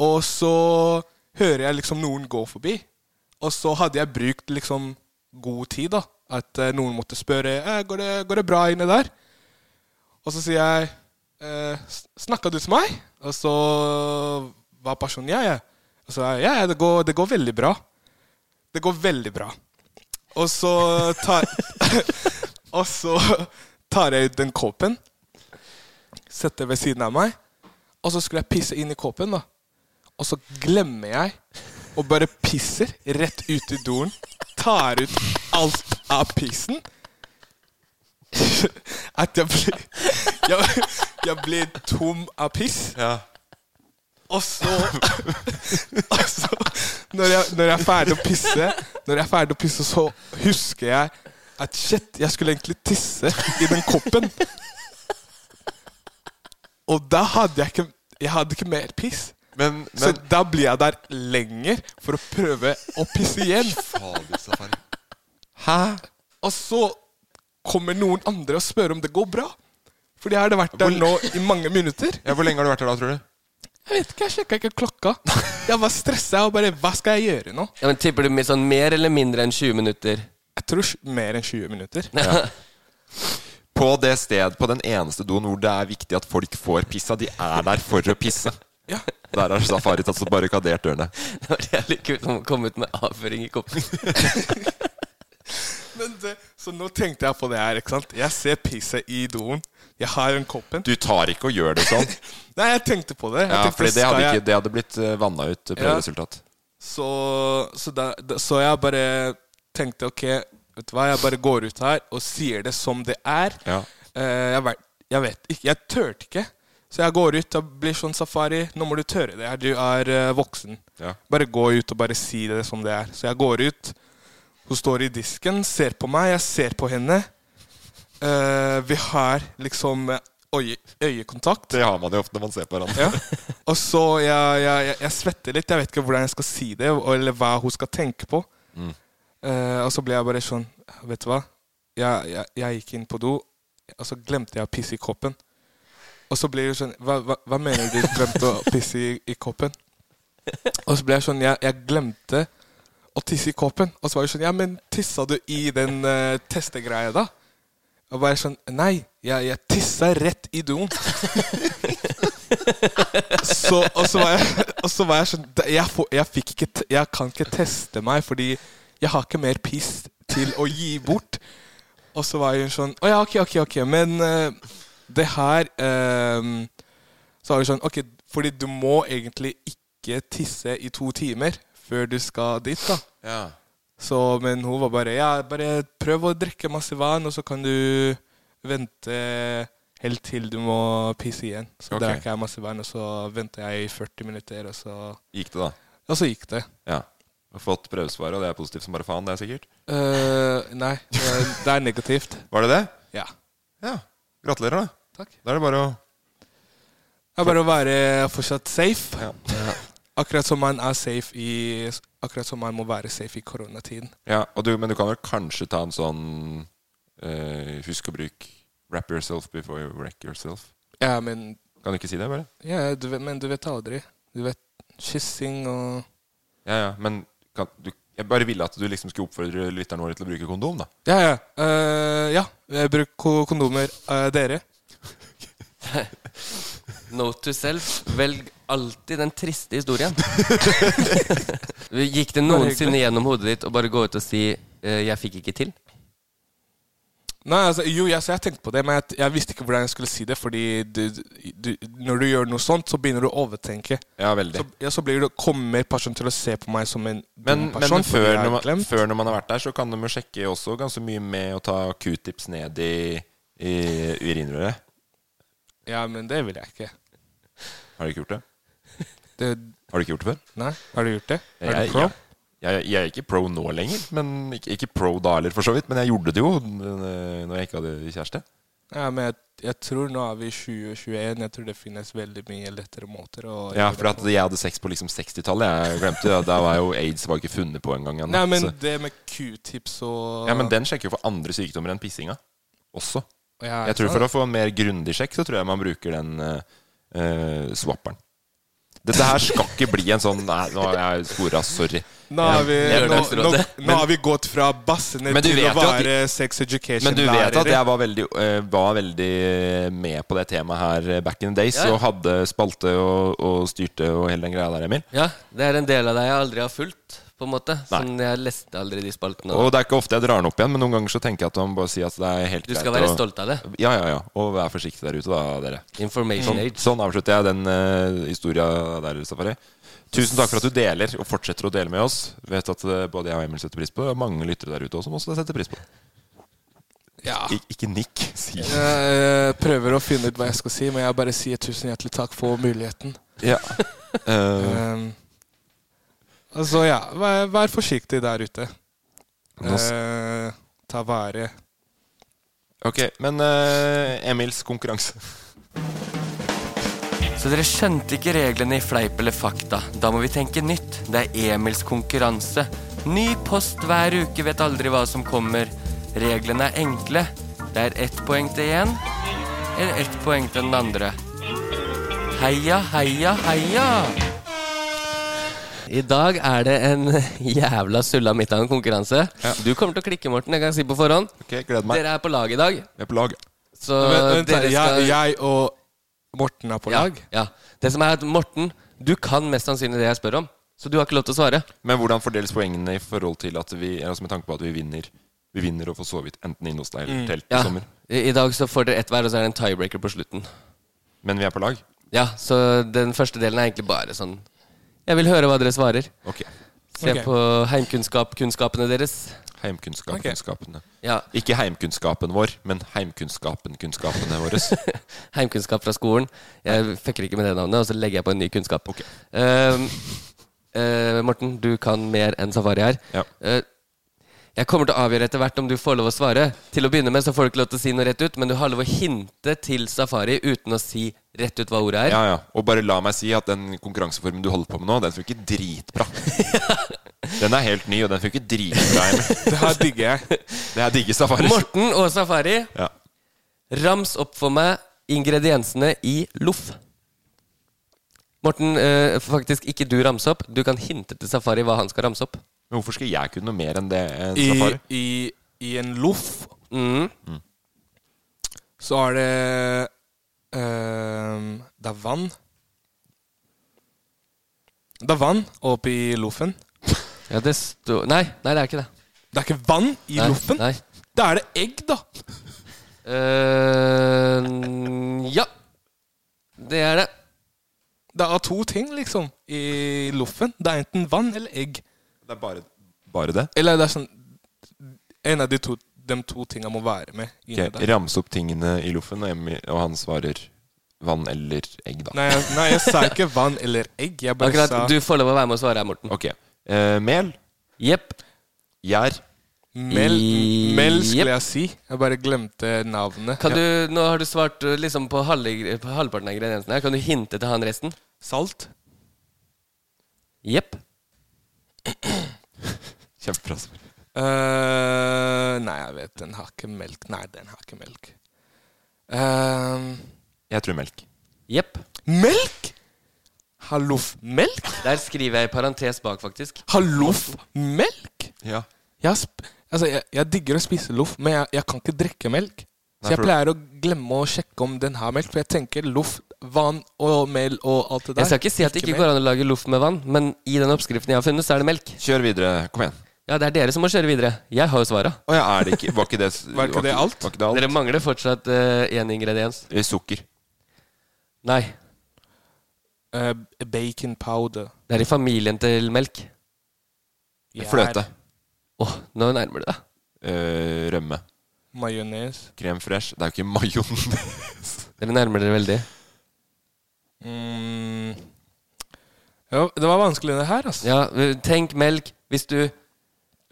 S5: Og så hører jeg liksom noen gå forbi. Og så hadde jeg brukt liksom god tid, da. At eh, noen måtte spørre eh, går, det, går det bra inne der. Og så sier jeg eh, s- Snakka du til meg? Og så var personen ja, ja. Og så ja, ja, det går, det går veldig bra. Det går veldig bra. Og så tar Og så tar jeg ut den kåpen, setter ved siden av meg, og så skulle jeg pisse inn i kåpen, da. Og så glemmer jeg og bare pisser rett ut i doen. Tar ut alt av pissen. At jeg blir Jeg, jeg blir tom av piss. Og så Og så når jeg, når jeg er ferdig å pisse, Når jeg er ferdig å pisse så husker jeg at shit, jeg skulle egentlig tisse i den koppen. Og da hadde jeg ikke Jeg hadde ikke mer piss. så
S3: men-
S5: da blir jeg der lenger for å prøve å pisse igjen. Hæ? Og så kommer noen andre og spør om det går bra. Fordi jeg hadde vært der nå i mange minutter.
S3: Ja, Hvor lenge har du vært der da, tror du?
S5: Jeg vet ikke, jeg sjekka ikke klokka. Jeg var stressa og bare Hva skal jeg gjøre nå?
S4: Ja, men Tipper du med sånn mer eller mindre enn 20 minutter?
S5: Jeg tror mer enn 20 minutter.
S3: Ja. På det sted, på den eneste doen hvor det er viktig at folk får pissa. De er der for å pisse. Der har Safari tatt så barrikadert dørene.
S4: Det var jævlig kult å komme ut med avføring i koppen.
S5: Men det, så nå tenkte jeg på det her, ikke sant. Jeg ser pisset i doen. Jeg har en koppen.
S3: Du tar ikke og gjør det sånn.
S5: Nei, jeg tenkte på det. Jeg
S3: Ja,
S5: tenkte,
S3: fordi det hadde,
S5: skal jeg-
S3: ikke, det hadde blitt eh, vanna ut eh, prøveresultat.
S5: Så, så, da, da, så jeg bare tenkte ok, vet du hva, jeg bare går ut her og sier det som det er.
S3: Ja.
S5: Eh, jeg, vet, jeg vet ikke, jeg tørte ikke. Så jeg går ut og blir sånn safari. Nå må du tørre det her, du er eh, voksen.
S3: Ja.
S5: Bare gå ut og bare si det som det er. Så jeg går ut. Hun står i disken, ser på meg, jeg ser på henne. Eh, vi har liksom eh, øye, øyekontakt.
S3: Det har man jo ofte når man ser på hverandre.
S5: Ja. Og så jeg, jeg, jeg, jeg svetter litt. Jeg vet ikke hvordan jeg skal si det, eller hva hun skal tenke på.
S3: Mm.
S5: Eh, og så ble jeg bare sånn Vet du hva? Jeg, jeg, jeg gikk inn på do, og så glemte jeg å pisse i koppen. Og så blir det sånn Hva, hva, hva mener du glemte å pisse i, i koppen? Og så ble jeg sånn Jeg, jeg glemte å tisse i koppen. Og så var jeg sånn Ja, men tissa du i den eh, testegreia, da? Og bare sånn Nei, jeg, jeg tissa rett i doen. så, og, så var jeg, og så var jeg sånn "Da- jeg, får, jeg, fikk ikke, t- jeg kan ikke teste meg, fordi jeg har ikke mer piss til å gi bort. Og så var hun sånn Å ja, ok, ok, ok, men eh, det her eh, Så var hun sånn Ok, fordi du må egentlig ikke tisse i to timer før du skal dit, da.
S3: Ja.
S5: Så, men hun var bare Ja, bare prøv å drikke masse vann, og så kan du vente helt til du må pisse igjen. Så
S3: Ok.
S5: drakk jeg masse vann, og så venta jeg i 40 minutter, og så
S3: Gikk det, da?
S5: Og så gikk det.
S3: Ja. Har Fått prøvesvar, og det er positivt som bare faen, det er sikkert?
S5: Eh, Nei, det er- det er negativt.
S3: Var det det?
S5: Ja.
S3: Ja. Gratulerer, da.
S5: Takk.
S3: Da er det bare å
S5: Det er bare å være fortsatt safe. Akkurat som man er safe i Akkurat som man må være safe i koronatiden.
S3: Ja, og du, men du kan vel kanskje ta en sånn eh, Husk å bruke Wrap yourself before you wreck yourself.
S5: Ja, men
S3: Kan du ikke si det, bare?
S5: Ja, du vet, men du vet aldri. Du vet kyssing og
S3: Ja, ja, men kan, du, Jeg bare ville at du liksom skulle oppfordre lytterne våre til å bruke kondom, da.
S5: Ja, ja. Eh, ja. eh, Bruk ko- kondomer, eh, dere.
S4: Note to self. Velg alltid den triste historien. Gikk det noensinne gjennom hodet ditt å bare gå ut og si eh, 'jeg fikk ikke til'?
S5: Nei, altså, jo, jeg, så jeg tenkte på det, men jeg, jeg visste ikke hvordan jeg skulle si det. Fordi du, du, når du gjør noe sånt, så begynner du å overtenke.
S3: Ja, veldig.
S5: Så, ja, så blir du, kommer personen til å se på meg som en
S3: Men,
S5: dum person.
S3: men før,
S5: fordi jeg er
S3: når man,
S5: glemt.
S3: før når man har vært der, så kan de jo sjekke også ganske mye med å ta q-tips ned i, i urinrøret.
S5: Ja, men det vil jeg ikke.
S3: Har du ikke gjort det?
S5: Det,
S3: Har du ikke gjort det før?
S5: Nei. Har du gjort det? Er du
S3: Jeg,
S5: pro?
S3: ja. jeg, jeg er ikke pro nå lenger. Men ikke, ikke pro da heller, for så vidt. Men jeg gjorde det jo eh, når jeg ikke hadde kjæreste.
S5: Ja, men jeg, jeg tror nå er vi i 2021. Jeg tror det finnes veldig mye lettere måter å
S3: Ja,
S5: gjøre
S3: for at
S5: på.
S3: jeg hadde sex på liksom 60-tallet. Jeg glemte det. Da var jo aids var ikke funnet på engang. ennå,
S5: Nei, men
S3: så-
S5: det med q-tips og
S3: Ja, men den sjekker jo for andre sykdommer enn pissinga også.
S5: Ja,
S3: jeg tror
S5: sant.
S3: For å få en mer grundig sjekk, så tror jeg man bruker den eh, eh, swapperen. Dette her skal ikke bli en sånn Nei, nå har jeg spora. Sorry.
S5: Nå har vi,
S3: Jeg-
S5: nå,
S3: jeg-
S5: nå, nå har
S3: Men-
S5: vi gått fra bassene
S3: Men du
S5: til å
S3: vet jo at-
S5: være sex
S3: men du vet at jeg
S5: education-lærere.
S3: var veldig, eh, var veldig eh, med på det temaet her eh, back in the days,
S4: Ja, ja.
S3: og hadde spalte og, og styrte og hele den greia der, Emil.
S4: Ja, det er en del av deg jeg aldri har fulgt, på en måte. Sånn, jeg leste aldri de spaltene.
S3: Og det er ikke ofte jeg drar den opp igjen, men noen ganger så tenker jeg at man bare sier at det er helt
S4: Du
S3: greit.
S4: skal være
S3: å-
S4: stolt av det.
S3: Ja, ja, ja. Og vær forsiktig der ute, da, dere.
S4: Information
S3: sånn,
S4: age.
S3: Sånn avslutter jeg den uh, historia der, Safari. Tusen takk for at du deler, og fortsetter å dele med oss. Vet at eh, både jeg og Emil setter pris på det, og mange lyttere der ute også som også setter pris på det.
S4: Ah.
S3: Ik ikke nikk, si.
S5: Jeg eh, prøver å finne ut hva jeg skal si, men jeg bare sier tusen hjertelig takk for muligheten.
S3: Ja. Eh,
S5: Um, altså, ja, vær, vær forsiktig der ute.
S3: Nå s-
S5: Eh, ta vare.
S3: ok, men eh, Emils konkurranse.
S4: Så dere skjønte ikke reglene i Fleip eller fakta. Da må vi tenke nytt. Det er Emils konkurranse. Ny post hver uke, vet aldri hva som kommer. Reglene er enkle. Det er ett poeng til én, eller ett poeng til den andre. Heia, heia, heia! I dag er det en jævla sulla midt av en konkurranse. Du kommer til å klikke, Morten. Jeg kan si på forhånd.
S3: Ok, gleder meg.
S4: Dere er på lag i dag.
S3: Vi er på lag.
S4: Så
S3: Eh,
S5: Vent, vent,
S4: dere skal
S5: jeg, jeg og Morten er på lag.
S4: ja. Det som er at Morten, du kan mest sannsynlig det jeg spør om. Så du har ikke lov til å svare.
S3: Men hvordan fordeles poengene i forhold til at vi altså med tanke på at vi vinner Vi vinner og får sovet enten inne hos deg eller
S4: Mm.
S3: telt
S4: Ja.
S3: i sommer?
S4: I, I dag så får dere ett hver, og så er det en tiebreaker på slutten.
S3: Men vi er på lag?
S4: Ja, så den første delen er egentlig bare sånn Jeg vil høre hva dere svarer.
S3: Ok.
S4: Se
S3: Ok.
S4: på heimkunnskap-kunnskapene deres.
S3: Heimkunnskap,
S4: Ok.
S3: kunnskapene.
S4: Ja.
S3: Ikke heimkunnskapen vår, men heimkunnskapen, kunnskapene våre.
S4: Heimkunnskap fra skolen. Jeg fucker ikke med det navnet, og så legger jeg på en ny kunnskap. Ehm, eh, Morten, du kan mer enn safari her. Eh, jeg kommer til å avgjøre etter hvert om du får lov å svare. Til å begynne med så får du ikke lov til å si noe rett ut, men du har lov å hinte til safari uten å si rett ut hva ordet er.
S3: Ja, ja. Og bare la meg si at den konkurranseformen du holder på med nå, den funker dritbra. Den er helt ny, og den funker dritbra. Det
S5: her digger jeg.
S3: Det her digger safari.
S4: Morten og safari,
S3: Ja.
S4: rams opp for meg ingrediensene i loff. Morten, eh, faktisk ikke du ramse opp. Du kan hinte til safari hva han skal ramse opp.
S3: Men hvorfor skal jeg kunne noe mer enn det? enn
S5: I,
S3: safari?
S5: i, i en loff
S4: Mhm.
S3: Mm.
S5: så er det ehm, Det er vann. Det er vann oppi loffen.
S4: Ja, det står Nei, nei, det er ikke det.
S5: Det er ikke vann i
S4: Nei,
S5: loffen?
S4: nei.
S5: Da er det egg, da.
S4: Eh, ja. Det er det.
S5: Det er to ting, liksom, i loffen. Det er enten vann eller egg.
S3: Det er bare Bare det?
S5: Eller det er sånn En av de to, de to tinga må være med. inni
S3: Ok,
S5: der.
S3: Ramse opp tingene i loffen, og, Emil, og han svarer vann eller egg, da.
S5: Nei, jeg, nei, jeg sa ikke vann eller egg. Jeg bare
S4: Akkurat,
S5: sa
S4: Du får lov å være med og svare her, Morten.
S3: Ok. Eh, mel.
S4: Jepp.
S3: Gjær.
S5: mel,
S4: I-
S5: mel, skulle
S4: Jepp.
S5: jeg si. Jeg bare glemte navnet.
S4: Kan du, nå har du svart eh, liksom på, halve, på halvparten av ingrediensene. her. Kan du hinte til han resten?
S5: Salt.
S4: Jepp.
S3: Kjempebra. svar.
S5: Eh, nei, jeg vet den har ikke melk. Nei, den har ikke melk. Eh,
S3: Jeg tror melk.
S4: Jepp.
S5: melk?! Halloff-melk?
S4: Der skriver jeg i parentes bak, faktisk.
S5: Halloff-melk?
S3: Ja.
S5: Jeg, sp altså, jeg, jeg digger å spise loff, men jeg, jeg kan ikke drikke melk.
S3: Nei,
S5: Så jeg
S3: for-
S5: pleier å glemme å sjekke om den har melk, for jeg tenker loff, vann og mel og alt det der.
S4: Jeg skal ikke si at det ikke går an å lage loff med vann, men i den oppskriften jeg har funnet, så er det melk.
S3: Kjør videre. Kom igjen.
S4: Ja, det er dere som må kjøre videre. Jeg har jo svara.
S3: Å ja, er det ikke Var ikke det,
S5: Var ikke det alt?
S3: Var ikke det alt?
S4: Dere mangler fortsatt én ingrediens.
S3: Eh, Sukker.
S4: Nei.
S5: Eh, bacon powder.
S4: Det er i familien til melk.
S5: Gjær,
S3: Fløte.
S4: Åh, nå nærmer du deg.
S3: Eh, rømme.
S5: Majones.
S3: Krem fresh. Det er jo ikke majones.
S4: Dere nærmer dere veldig.
S5: Mm. Ja, det var vanskelig, det her, altså.
S4: Ja, eh, tenk melk hvis du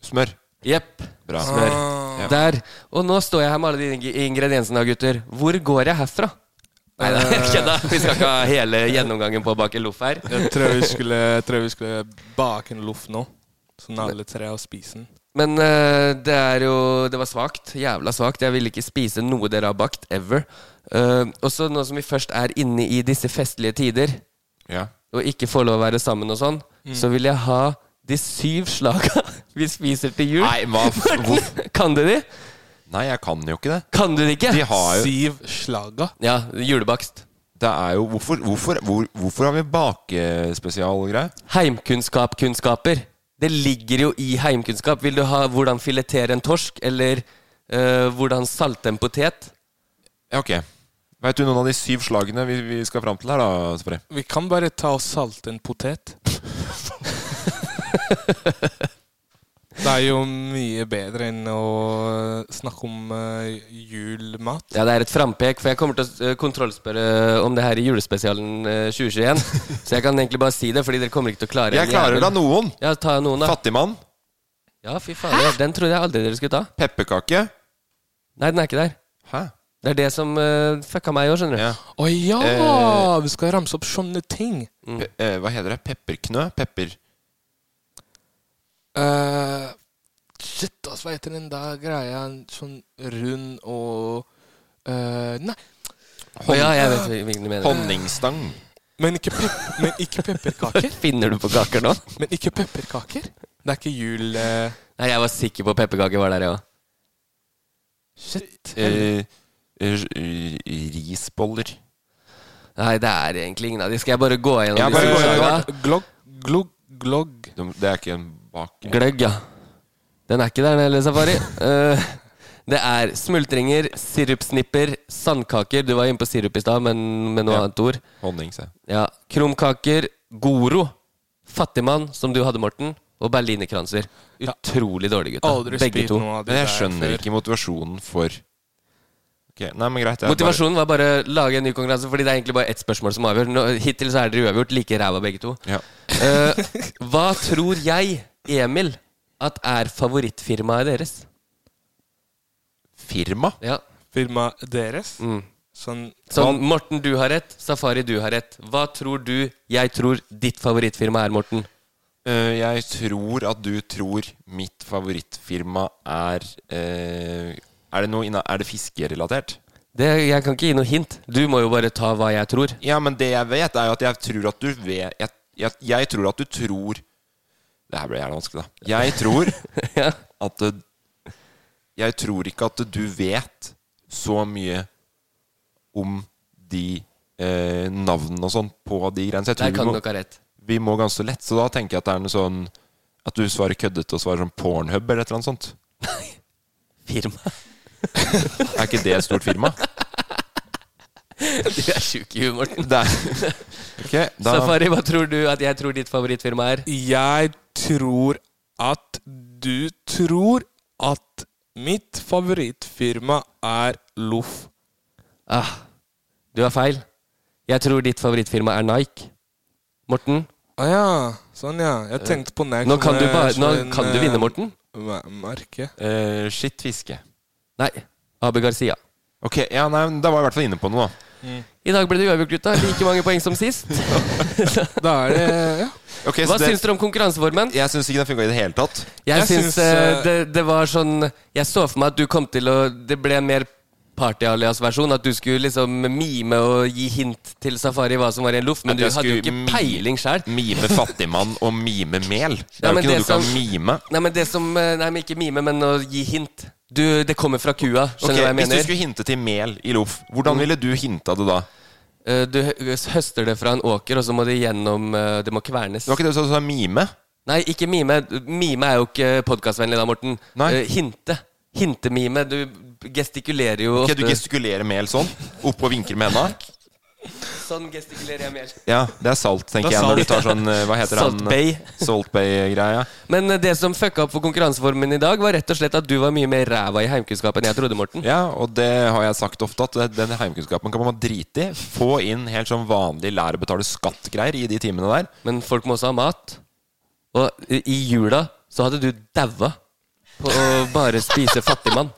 S3: Smør.
S4: Jepp.
S3: Bra.
S4: Smør.
S5: Ah.
S4: Der. Og nå står jeg her med alle de ing- ingrediensene, da, gutter. Hvor går jeg herfra? Nei da,
S3: Eh.
S4: jeg kødder. Vi skal ikke ha hele gjennomgangen på å bake loff her.
S5: Jeg tror vi skulle, jeg tror vi skulle bake en loff nå. Sånn alle tre og spise den.
S4: Men eh, det er jo Det var svakt. Jævla svakt. Jeg ville ikke spise noe dere har bakt. Ever. Eh, og så nå som vi først er inne i disse festlige tider,
S3: Ja.
S4: og ikke får lov å være sammen og sånn,
S3: Mm.
S4: så vil jeg ha de syv slaga vi spiser til jul.
S3: Nei, hva f- hvor-
S4: Kan du de?
S3: Nei, jeg kan jo ikke det.
S4: Kan du de ikke?
S3: De har jo
S5: Siv Slaga.
S4: Ja, julebakst.
S3: Det er jo Hvorfor, hvorfor, hvor, hvorfor har vi bakespesialgreie?
S4: Heimkunnskap-kunnskaper. Det ligger jo i heimkunnskap. Vil du ha hvordan filetere en torsk, eller eh, hvordan salte en potet?
S3: Ja, ok. Veit du noen av de syv slagene vi, vi skal fram til her, da, Safari?
S5: Vi kan bare ta og salte en potet. Det er jo mye bedre enn å snakke om eh, julmat.
S4: Ja, det er et frampek, for jeg kommer til å eh, kontrollspørre om det her i julespesialen eh, 2021. Så jeg kan egentlig bare si det, fordi dere kommer ikke til å klare
S3: Jeg
S4: en
S3: klarer
S4: jævel.
S3: da noen!
S4: Ja, ta noen, da.
S3: Fattigmann,
S4: Ja, fy faen, ja, Den trodde jeg aldri dere skulle ta.
S3: pepperkake
S4: Nei, den er ikke der.
S3: Hæ?
S4: Det er det som eh, fucka meg i år, skjønner du.
S3: Ja.
S5: Å ja! vi skal ramse opp sånne ting.
S4: Mm.
S3: Pe eh, hva heter det? Pepperknø? Pepper...
S5: Eh, shit, ass, hva heter den der greia? En Sånn rund og eh, Nei,
S4: Å ja, jeg vet hvilken du mener.
S3: Honningstang.
S5: men ikke, pep men ikke pepperkaker.
S4: Finner du på kaker nå?
S5: Men ikke pepperkaker. Det er ikke jul... eh,
S4: Nei, jeg var sikker på pepperkaker var der, jeg òg.
S5: shit.
S3: Eh, eh, risboller.
S4: Nei, det er egentlig ingen av de. Skal jeg bare gå gjennom
S3: Ja,
S4: de
S3: bare
S4: som
S3: gå
S4: er
S3: gjennom.
S4: laget?
S5: Glogg, glogg, glogg.
S3: De- Det er ikke en bak...
S4: Gløgg, ja. Den er ikke der, den heller, Safari. Eh, det er smultringer, sirupsnipper, sandkaker Du var inne på sirup i stad, men med noe
S3: Ja.
S4: annet ord.
S3: Honning, se.
S4: Ja, Krumkaker, Goro, Fattigmann, som du hadde, Morten, og berlinerkranser. Utrolig dårlig, gutta.
S5: Aldri
S4: Begge
S5: spilt
S4: to.
S5: noe av det
S3: Men jeg
S5: der
S3: skjønner
S5: før.
S3: ikke motivasjonen for Ok, Nei, men greit. jeg bare-
S4: Motivasjonen var bare å lage en ny konkurranse, fordi det er egentlig bare ett spørsmål som avgjør. Nå, hittil så er dere uavgjort, like ræva begge to.
S3: Ja.
S4: Eh, hva tror jeg, Emil, at er favorittfirmaet deres?
S3: Firma?
S4: Ja.
S5: Firmaet deres?
S4: Mm.
S5: Sånn
S4: Sånn, Morten, du har rett. Safari, du har rett. Hva tror du jeg tror ditt favorittfirma er, Morten?
S3: Eh, jeg tror at du tror mitt favorittfirma er eh, Er det noe inna, Er det fiskerelatert?
S4: Det, jeg kan ikke gi noe hint. Du må jo bare ta hva jeg tror.
S3: Ja, men det jeg vet, er jo at jeg tror at du vet Jeg, jeg, jeg tror at du tror Det her ble jævla vanskelig, da. Jeg tror
S4: Ja.
S3: at eh, Jeg tror ikke at du vet så mye om de eh, navnene og sånn på de greiene. Så jeg
S4: Der
S3: tror vi
S4: kan du
S3: må,
S4: nok ha rett.
S3: vi må ganske lett. Så da tenker jeg at det er noe sånn At du svarer køddete og svarer sånn Pornhub eller et eller annet sånt.
S4: Firma.
S3: Er ikke det et stort firma?
S4: Du er sjuk i huet, Morten.
S3: Det er Ok, da
S4: Safari, hva tror du at jeg tror ditt favorittfirma er?
S5: Jeg tror at du tror at mitt favorittfirma er Loff.
S4: Ah, du har feil. Jeg tror ditt favorittfirma er Nike. Morten?
S5: Å ja. Sånn, ja. Jeg tenkte på Nike.
S4: Eh, Nå kan
S5: som
S4: du
S5: er
S4: bare- nå
S5: sånn,
S4: kan du vinne,
S5: eh,
S4: Morten. Eh.
S5: mer- Merke.
S3: Uh, shit fiske.
S4: Nei. Abu Garcia.
S3: Ok, ja, nei, men Da var jeg i hvert fall inne på noe, da.
S4: I dag ble det uavgjort, gutta. Like mange poeng som sist.
S5: da er det ja.
S3: Ok,
S4: Hva
S3: så det-
S4: syns dere om konkurranseformen?
S3: Jeg syns ikke den funka i det hele tatt.
S4: Jeg,
S3: Jeg
S4: syns,
S3: syns,
S4: eh,
S3: eh,
S4: det, det var sånn Jeg så for meg at du kom til å Det ble mer Party-alias-versjon. At du skulle liksom mime og gi hint til Safari hva som var i en loff. Men
S3: At
S4: du
S3: jeg
S4: hadde jo
S3: skulle
S4: ikke
S3: mi- Mm.
S4: peiling sjøl.
S3: Mime fattigmann og mime mel. Det
S4: Ja,
S3: er jo
S4: men
S3: ikke noe
S4: det
S3: du kan
S4: som-
S3: mime.
S4: Nei, men det som eh, Nei, men ikke mime, men å gi hint. Du, det kommer fra kua.
S3: Ok,
S4: Skjønner du hva jeg
S3: Hvis du
S4: mener?
S3: skulle hinte til mel i loff, hvordan ville du hinta det da?
S4: Eh, Du hø- høster det fra en åker, og så må det gjennom eh, Det må kvernes.
S3: Det var ikke det du sa, du sa mime?
S4: Nei, ikke mime. Mime er jo ikke podkastvennlig da, Morten. Eh, hinte. Hintemime. Du gestikulerer jo
S3: Ok,
S4: ofte.
S3: Du gestikulerer mel sånn? Oppå og vinker med henda?
S4: Sånn gestikulerer jeg mer.
S3: Ja, det er salt, tenker
S4: Det er
S3: jeg, når du tar
S4: salt.
S3: sånn eh, Hva heter
S4: Salt
S3: han?
S4: Bay.
S3: Salt Bay-greia.
S4: Men eh, det som fucka opp for konkurranseformen i dag, var rett og slett at du var mye mer ræva i heimkunnskap enn jeg trodde, Morten.
S3: Ja, og det har jeg sagt ofte, at det- den heimkunnskapen kan man drite i. Få inn helt sånn vanlig lær å betale skatt-greier i de timene der.
S4: Men folk må også ha mat. Og i i jula så hadde du daua på å bare spise fattigmann.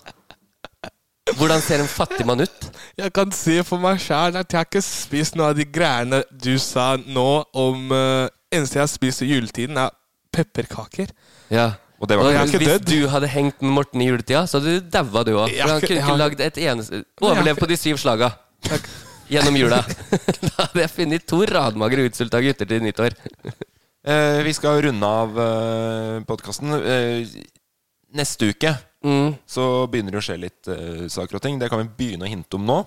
S4: Hvordan ser en fattigmann ut?
S5: Jeg kan si for meg sjæl at jeg har ikke spist noe av de greiene du sa nå om uh, Eneste jeg har spist i juletiden, er pepperkaker.
S4: Ja.
S3: Og det var ikke
S4: jeg-
S3: dødd.
S4: Hvis du hadde hengt med Morten i juletida, så hadde du daua, du òg.
S5: Jeg har
S4: Han
S5: ikke-
S4: kunne
S5: jeg
S4: ikke
S5: har-
S4: lagd et eneste Overlev på de syv slaga. Gjennom jula. da hadde jeg funnet to radmagre, utsulta gutter til nyttår.
S3: Eh, vi skal runde av eh, podkasten. Eh, neste uke
S4: Mm.
S3: så begynner det å skje litt eh, saker og ting. Det kan vi begynne å hinte om nå.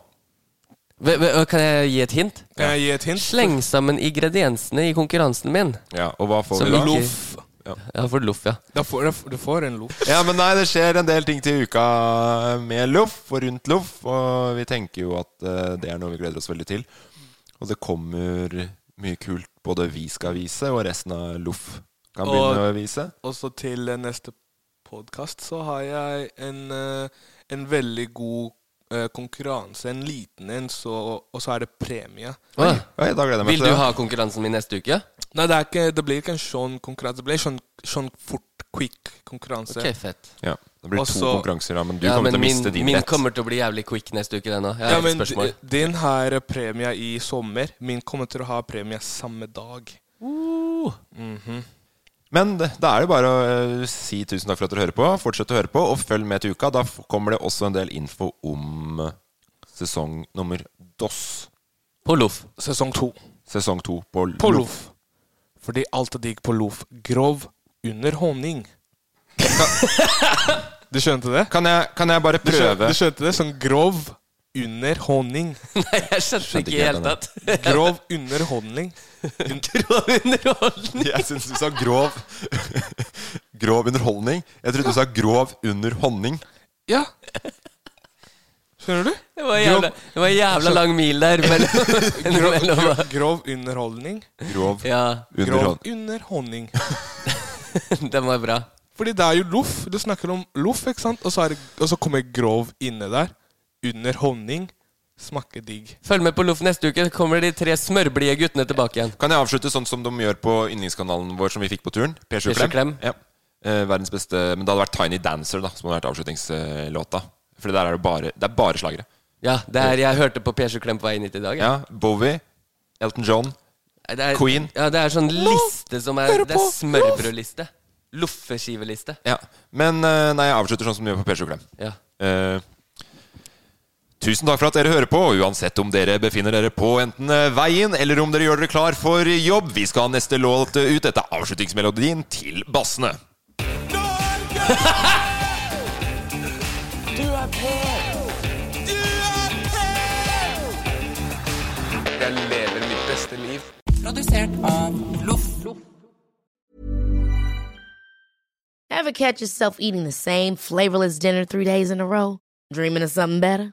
S4: Ve- ve- Kan jeg gi et hint?
S5: Kan jeg gi et hint?
S4: Sleng sammen ingrediensene i konkurransen min.
S3: Ja, og hva får
S4: Som
S3: vi da?
S4: ikke-
S5: Loff.
S3: Ja.
S4: Ja, for loff, ja.
S5: Da får, da får- du får en loff.
S3: Ja, men nei, det skjer en del ting til uka med loff og rundt loff. Og vi tenker jo at eh, det er noe vi gleder oss veldig til. Og det kommer mye kult både vi skal vise, og resten av loff kan begynne å vise.
S5: Og så til eh, neste podkast så har jeg en, eh, en veldig god eh, konkurranse. En liten en, så, og så er det premie.
S4: Oi.
S3: Oi, da gleder jeg meg
S4: Vil du
S3: til det.
S4: ha konkurransen min neste uke?
S5: Nei, det, er ikke, det blir ikke en sånn konkurranse. Det blir sånn, sånn fort, quick konkurranse.
S4: Ok, fett.
S3: Ja, det blir
S5: Og
S3: to
S5: så-
S3: konkurranser, da, men du
S4: Ja,
S3: kommer
S4: men
S3: til å
S4: min,
S3: miste din
S4: min
S3: rett.
S4: kommer til å bli jævlig quick neste uke, den òg. Jeg
S5: Ja,
S4: har et
S5: men
S4: spørsmål.
S5: d- din har premie i sommer. Min kommer til å ha premie samme dag.
S3: Men det- da er det bare å eh, si tusen takk for at dere hører på. Fortsett å høre på, og følg med til uka. Da f- kommer det også en del info om eh, sesong nummer DOS.
S4: På Loff.
S5: Sesong to.
S3: Sesong to på,
S5: På
S3: Loff.
S5: Loff. Fordi alt er digg på Loff. Grov under honning. Du skjønte det?
S3: Kan jeg, kan jeg bare
S5: Du skjønte,
S3: prøve
S5: du skjønte det? Sånn grov under honning.
S4: Nei, jeg skjønte ikke i det hele
S3: helt
S4: tatt.
S5: Grov under honning.
S4: Grov underholdning.
S3: Jeg syns du sa grov Grov underholdning. Jeg trodde du sa grov under honning.
S5: Ja. Skjønner du?
S4: Det var jævla, det var jævla lang mil der mellom,
S5: Grov,
S4: mellom
S5: grov, grov underholdning.
S3: Grov
S4: Ja,
S3: under
S5: Grov
S3: honning.
S5: under honning.
S4: den var bra.
S5: Fordi det er jo loff. Du snakker om loff, ikke sant? Og så, er det, og så kommer grov inne der. Under honning. Smaker digg.
S4: Følg med på Loff neste uke, så kommer de tre smørblide guttene tilbake igjen.
S3: Kan jeg avslutte sånn som de gjør på yndlingskanalen vår som vi fikk på turen? P7
S4: P7 Klem.
S3: Ja. Eh, verdens beste Men det hadde vært Tiny Dancer da som hadde vært avslutningslåta. For der er det bare, det er bare slagere.
S4: Ja, det er, Jeg hørte på P7 Klem på vei inn hit i dag.
S3: Ja, Bowie, Elton John
S4: Det er,
S3: Queen.
S4: Ja, det er sånn liste som er
S5: hører
S4: Det er
S5: på
S4: smørbrødliste. Loffeskiveliste.
S3: Ja, Men eh, nei, jeg avslutter sånn som du gjør på Per Sjuklem.
S4: Ja.
S3: Eh, tusen takk for at dere hører på. og Uansett om dere befinner dere på enten eh, veien eller om dere gjør dere klar for jobb. Vi skal ha neste låt ut. Dette er avslutningsmelodien til bassene.
S2: Du er på! Du er på!
S4: Jeg lever mitt beste liv.
S9: Ever catch yourself eating the same flavorless dinner three days in a row? Dreaming of something better?